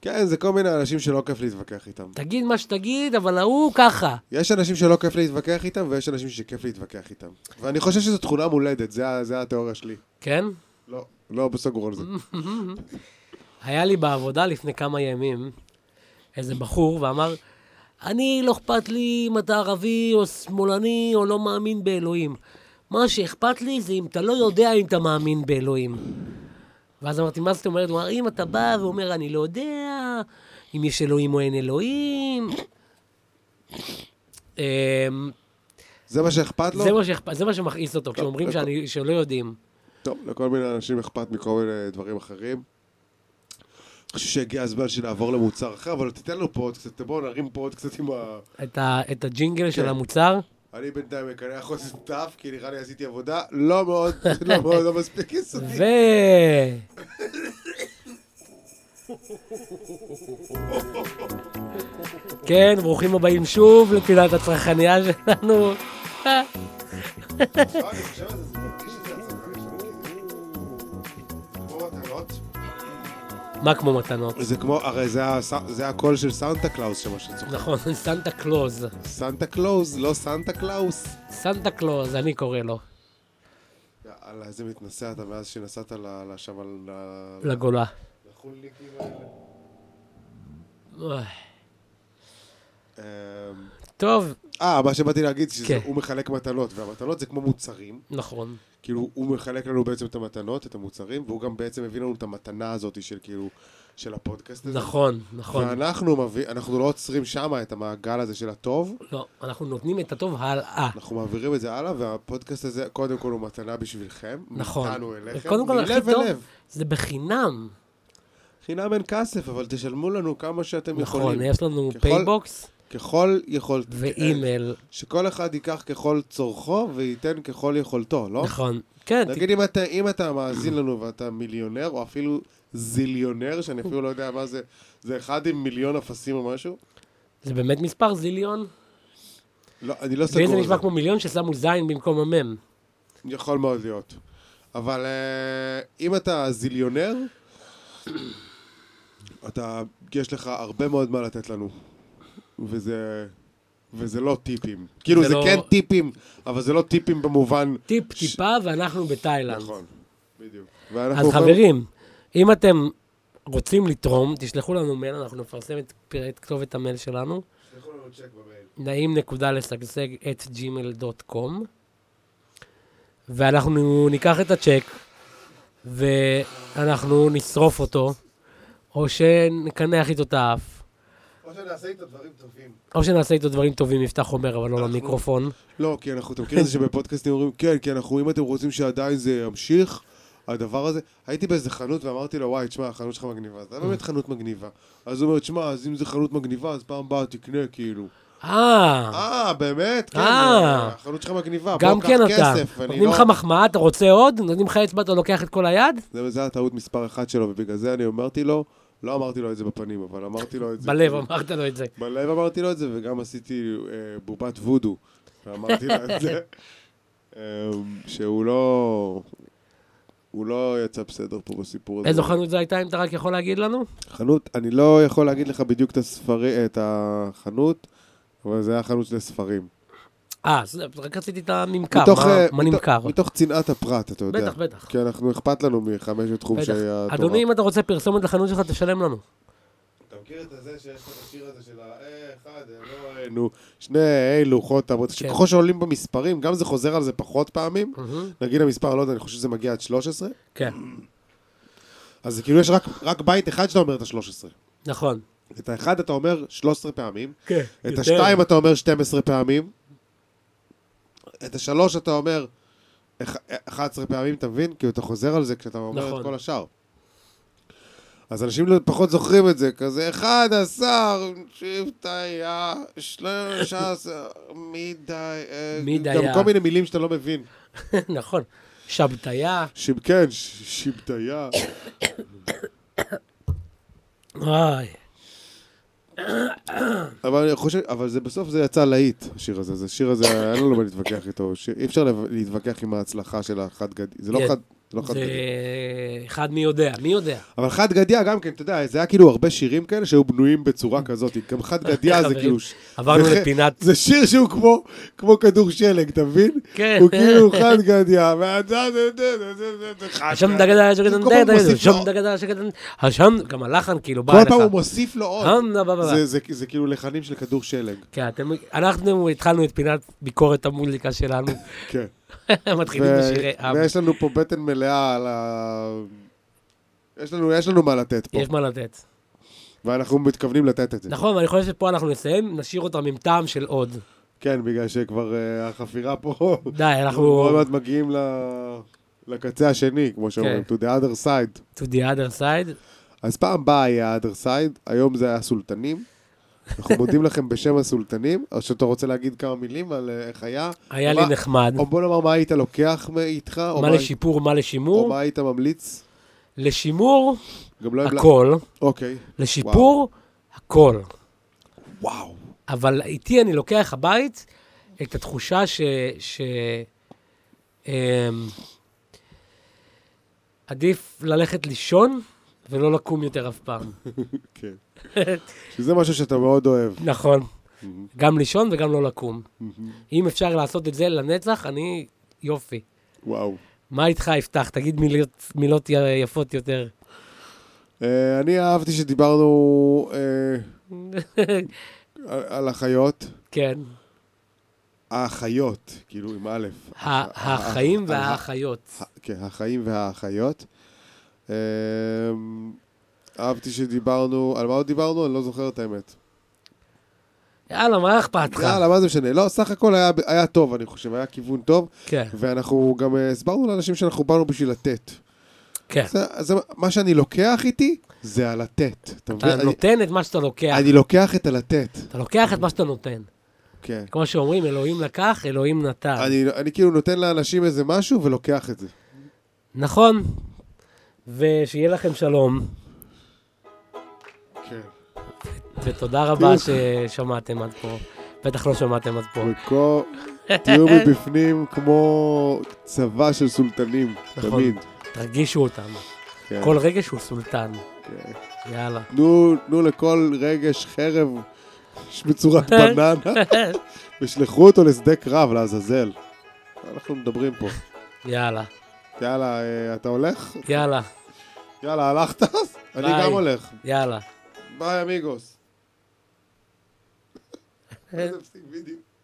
B: כן, זה כל מיני אנשים שלא כיף להתווכח איתם.
A: תגיד מה שתגיד, אבל ההוא ככה.
B: יש אנשים שלא כיף להתווכח איתם, ויש אנשים שכיף להתווכח איתם. ואני חושב שזו תכונה מולדת, זה ה- זה התיאוריה שלי.
A: כן?
B: לא, לא בסגור על זה.
A: היה לי בעבודה לפני כמה ימים איזה בחור ואמר, אני לא אכפת לי אם אתה ערבי או שמאלני או לא מאמין באלוהים. מה שאכפת לי זה אם אתה לא יודע אם אתה מאמין באלוהים. ואז אמרתי, מה זאת אומרת? הוא אמר, אם אתה בא ואומר, אני לא יודע אם יש אלוהים או אין אלוהים. אמ,
B: זה מה שאכפת לו?
A: זה מה שאכפת- זה מה שמכעיס אותו, כשאומרים
B: לא.
A: שאני- שלא יודעים.
B: טוב, לכל מיני אנשים אכפת מכל מיני דברים אחרים. אני חושב שהגיע הזמן שנעבור למוצר אחר, אבל תיתן לנו פה עוד קצת, בואו נרים פה עוד קצת עם ה...
A: את ה- את הג'ינגל של
B: כן.
A: המוצר.
B: אני בינתיים מקנח עוד דף, כי נראה לי עשיתי עבודה לא מאוד, לא מאוד, לא מספיק יסודית.
A: ו... כן, ברוכים הבאים שוב לפינת הצרכניה שלנו.
B: לא, אני חושב על זה, זה מרגיש את זה, הצרכן שלנו. כמו מתנות.
A: מה כמו מתנות?
B: זה כמו, הרי זה הס- זה הקול של סנטה קלאוס שמה שצוחק.
A: נכון, סנטה קלוז.
B: סנטה קלאוס, לא סנטה קלאוס.
A: סנטה קלוז, אני קורא לו,
B: יאללה, איזה מתנשא אתה מאז שנסעת ל- לשם על... ה-
A: לגולה.
B: לחולניקים האלה.
A: אוי,
B: אמ,
A: טוב,
B: אה, מה שבאתי להגיד,
A: כן.
B: שהוא מחלק מטלות, והמטלות זה כמו מוצרים.
A: נכון.
B: כאילו, הוא מחלק לנו בעצם את המתנות, את המוצרים, והוא גם בעצם הביא לנו את המתנה הזאת של כאילו, של הפודקאסט הזה.
A: נכון, נכון.
B: ואנחנו מביא, אנחנו לא עוצרים שם את המעגל הזה של הטוב,
A: לא, אנחנו נותנים את הטוב הלאה.
B: אנחנו מעבירים את זה הלאה, והפודקאסט הזה, קודם כל הוא מתנה בשבילכם.
A: נכון.
B: מאיתנו אליכם,
A: קודם כל, הכי
B: מלב
A: טוב,
B: אליו.
A: זה בחינם.
B: חינם אין כסף, אבל תשלמו לנו כמה שאתם
A: נכון,
B: יכולים.
A: יש לנו
B: ככל- אוקיי.
A: פייבוקס
B: ככל יכולת.
A: ואימייל.
B: שכל אחד ייקח ככל צורכו וייתן ככל יכולתו, לא?
A: נכון. כן, ת-
B: נגיד אם אתה, אם אתה מאזין לנו ואתה מיליונר, או אפילו זיליונר, שאני אפילו לא יודע מה זה, זה אחד עם מיליון אפסים או משהו?
A: זה באמת מספר זיליון.
B: לא, אני לא סגור
A: לי זה
B: על זה.
A: נשמע כמו מיליון ששמו זין במקום המם.
B: יכול מאוד להיות. אבל אה, אם אתה זיליונר, אתה, יש לך הרבה מאוד מה לתת לנו. וזה... וזה לא טיפים. כאילו, זה,
A: לא-
B: כן טיפים, אבל זה לא טיפים במובן...
A: טיפ
B: ש-
A: טיפה ואנחנו בתאילנד.
B: נכון, בדיוק.
A: אז
B: ואנחנו גם-
A: חברים, אם אתם רוצים לתרום, תשלחו לנו מייל, אנחנו נפרסם את פר- את כתובת המייל שלנו,
B: שלחו לנו צ'ק במייל.
A: נעים נקודה לשגשג את gmail.com, ואנחנו ניקח את הצ'ק, ואנחנו נשרוף אותו, או שנקנח איתו את האף,
B: או שנעשה איתו דברים טובים.
A: או שנעשה איתו דברים טובים, יפתח חומר, אבל לא
B: אנחנו-
A: למיקרופון.
B: לא, כי אנחנו, אתה מכיר את זה שבפודקאסטים אומרים, כן, כי אנחנו, אם אתם רוצים שעדיין זה ימשיך, הדבר הזה, הייתי באיזה חנות ואמרתי לו, וואי, תשמע, החנות שלך מגניבה, זה היה באמת חנות מגניבה. אז הוא אומר, תשמע, אז אם זה חנות מגניבה, אז פעם באה תקנה, כאילו.
A: אה,
B: אה, באמת? כן,
A: אה.
B: החנות שלך מגניבה,
A: גם
B: בוא, קח
A: כן אתה.
B: כסף. אני
A: נותנים
B: לא-
A: לך מחמאה, אתה רוצה עוד? נותנים לך אצבע, אתה לוקח את כל היד?
B: זה- זה הטעות מספר אחת שלו, ובגלל זה אני אמרתי לו, לא אמרתי לו את זה בפנים, אבל אמרתי לו את זה. כאילו.
A: בלב אמרת לו את זה.
B: בלב אמרתי לו את זה, וגם עשיתי אה, בובת וודו, ואמרתי לו את זה, אה, שהוא לא... הוא לא יצא בסדר פה בסיפור הזה.
A: איזו חנות זו הייתה, אם אתה רק יכול להגיד לנו?
B: חנות, אני לא יכול להגיד לך בדיוק את הספרי, את החנות, אבל זה היה חנות של ספרים.
A: אה, אז רק רציתי את הממכר,
B: מתוך,
A: מה-
B: אה,
A: מה
B: מתוך-
A: נמכר.
B: מתוך צנעת הפרט, אתה יודע.
A: בטח, בטח.
B: כי אנחנו, אכפת לנו מחמש התחום
A: בטח.
B: שהיה...
A: אדוני, אם אתה רוצה פרסומת לחנות שלך, תשלם לנו.
B: אתה מכיר את הזה שיש לך את השיר הזה של ה... אחד, לא... נו, שני אה, לוחות, תמות,
A: כן.
B: שככל שעולים במספרים, גם זה חוזר על זה פחות פעמים.
A: מהמם.
B: נגיד המספר, לא יודע, אני חושב שזה מגיע עד 13,
A: כן,
B: אז זה כאילו יש רק, רק בית אחד שאתה אומר את ה-13.
A: נכון.
B: את האחד אתה אומר 13 פעמים,
A: כן.
B: את
A: יותר.
B: השתיים אתה אומר 12 פעמים, את השלוש אתה אומר אח- 11 פעמים, אתה מבין? כי אתה חוזר על זה כשאתה אומר
A: נכון.
B: את כל השאר. אז אנשים לא- פחות זוכרים את זה, כזה 11, שבטיה, 13, מדי, אה,
A: מדי
B: גם
A: היה.
B: כל מיני מילים שאתה לא מבין.
A: נכון. שבתיה.
B: שיב- כן, ש- שבטיה.
A: אוי.
B: אבל אני חושב, אבל זה בסוף זה יצא להיט, השיר הזה. זה השיר הזה, אין לנו מה להתווכח איתו. ש- אי אפשר לב- להתווכח עם ההצלחה של החד גדי. זה לא
A: כן.
B: חד... זה לא אה, חד
A: זה
B: גדי.
A: אחד מי יודע, מי יודע.
B: אבל חד גדיה גם כן, אתה יודע, זה היה כאילו הרבה שירים כאלה שהיו בנויים בצורה כזאת. גם חד גדיה זה
A: חברים,
B: כאילו... ש-
A: עברנו
B: זה-
A: לפינת...
B: זה שיר שהוא כמו, כמו כדור שלג, אתה מבין?
A: כן.
B: הוא כאילו חד גדיה, ואתה... זה- זה- זה- זה- זה- זה חד
A: השם
B: גדיה.
A: דגדה
B: הוא
A: שקדן
B: כל פעם
A: דגדה,
B: מוסיף
A: השם
B: לו-
A: דגדה שקדן... השם, גם הלחן כאילו בא
B: לא. כל
A: אליך.
B: פעם הוא מוסיף לו עוד.
A: השם, בא, בא, בא.
B: זה- זה- זה כאילו לחנים של כדור שלג.
A: כן, אתם... אנחנו התחלנו את פינת ביקורת המוזיקה שלנו.
B: כן.
A: מתחילים
B: ו-
A: בשירי עם.
B: ויש לנו פה בטן מלאה על ה... יש לנו, יש לנו מה לתת פה,
A: יש מה לתת.
B: ואנחנו מתכוונים לתת את זה.
A: נכון, ואני חושב שפה אנחנו נסיים, נשאיר אותם עם טעם של עוד.
B: כן, בגלל שכבר אה, החפירה פה,
A: די, אנחנו...
B: עוד מעט מגיעים ל- לקצה השני, כמו שאומרים,
A: כן.
B: to the other side.
A: to the other side.
B: אז פעם באה היה other side, היום זה היה סולטנים. אנחנו מודים לכם בשם הסולטנים, או שאתה רוצה להגיד כמה מילים על אה, איך היה,
A: היה לי
B: מה-
A: נחמד.
B: או בוא נאמר מה היית לוקח מאיתך, או
A: מה
B: מה-
A: לשיפור, מה
B: או
A: לשימור.
B: מה היית ממליץ.
A: לשימור,
B: גם לא... הבלע-
A: הכל.
B: אוקיי.
A: לשיפור, הכל.
B: וואו.
A: אבל איתי אני לוקח הבית את התחושה ש... ש... אמ, עדיף ללכת לישון ולא לקום יותר אף פעם.
B: כן. שזה משהו שאתה מאוד אוהב.
A: נכון.
B: Mm-hmm.
A: גם לישון וגם לא לקום. אם אפשר לעשות את זה לנצח, אני... יופי.
B: וואו.
A: מה איתך, יפתח? תגיד מילות, מילות י- יפות יותר.
B: אה, אני אהבתי שדיברנו... אה, על- על החיות,
A: כן.
B: האחיות, כאילו עם א',
A: ה- החיים
B: אה, אה,
A: והאחיות.
B: ה- כן, החיים והאחיות. אמ, אהבתי שדיברנו, על מה עוד דיברנו? אני לא זוכר את האמת.
A: יאללה, מה אכפת לך?
B: יאללה, מה זה משנה? לא, סך הכל היה- היה טוב, אני חושב, היה כיוון טוב,
A: כן,
B: ואנחנו גם אה, הסברנו לאנשים שאנחנו באנו בשביל לתת.
A: כן.
B: זה- זה- מה שאני לוקח איתי, זה הלתת. אתה
A: אתה
B: מבין? אני-
A: נותן את מה שאתה לוקח.
B: אני לוקח את הלתת.
A: אתה לוקח את מה שאתה נותן.
B: כן.
A: כמו שאומרים, אלוהים לקח, אלוהים נתן.
B: אני, אני כאילו נותן לאנשים איזה משהו ולוקח את זה.
A: נכון. ושיהיה לכם שלום,
B: כן.
A: ותודה רבה ששמעתם עד פה. בטח לא שמעתם עד פה.
B: וכה, תהיו מבפנים כמו צבא של סולטנים,
A: נכון.
B: תמיד.
A: תרגישו אותנו.
B: כן,
A: כל רגש הוא סולטן.
B: כן.
A: יאללה.
B: תנו, תנו לכל רגש חרב בצורת בננה, ושלחו אותו לשדה קרב, לעזאזל. אנחנו מדברים פה.
A: יאללה.
B: יאללה, אה, אתה הולך?
A: יאללה.
B: יאללה, הלכת? אני
A: ביי.
B: גם הולך.
A: יאללה. אה.
B: ביי, אמיגוס. איזה פסיק בדיוק.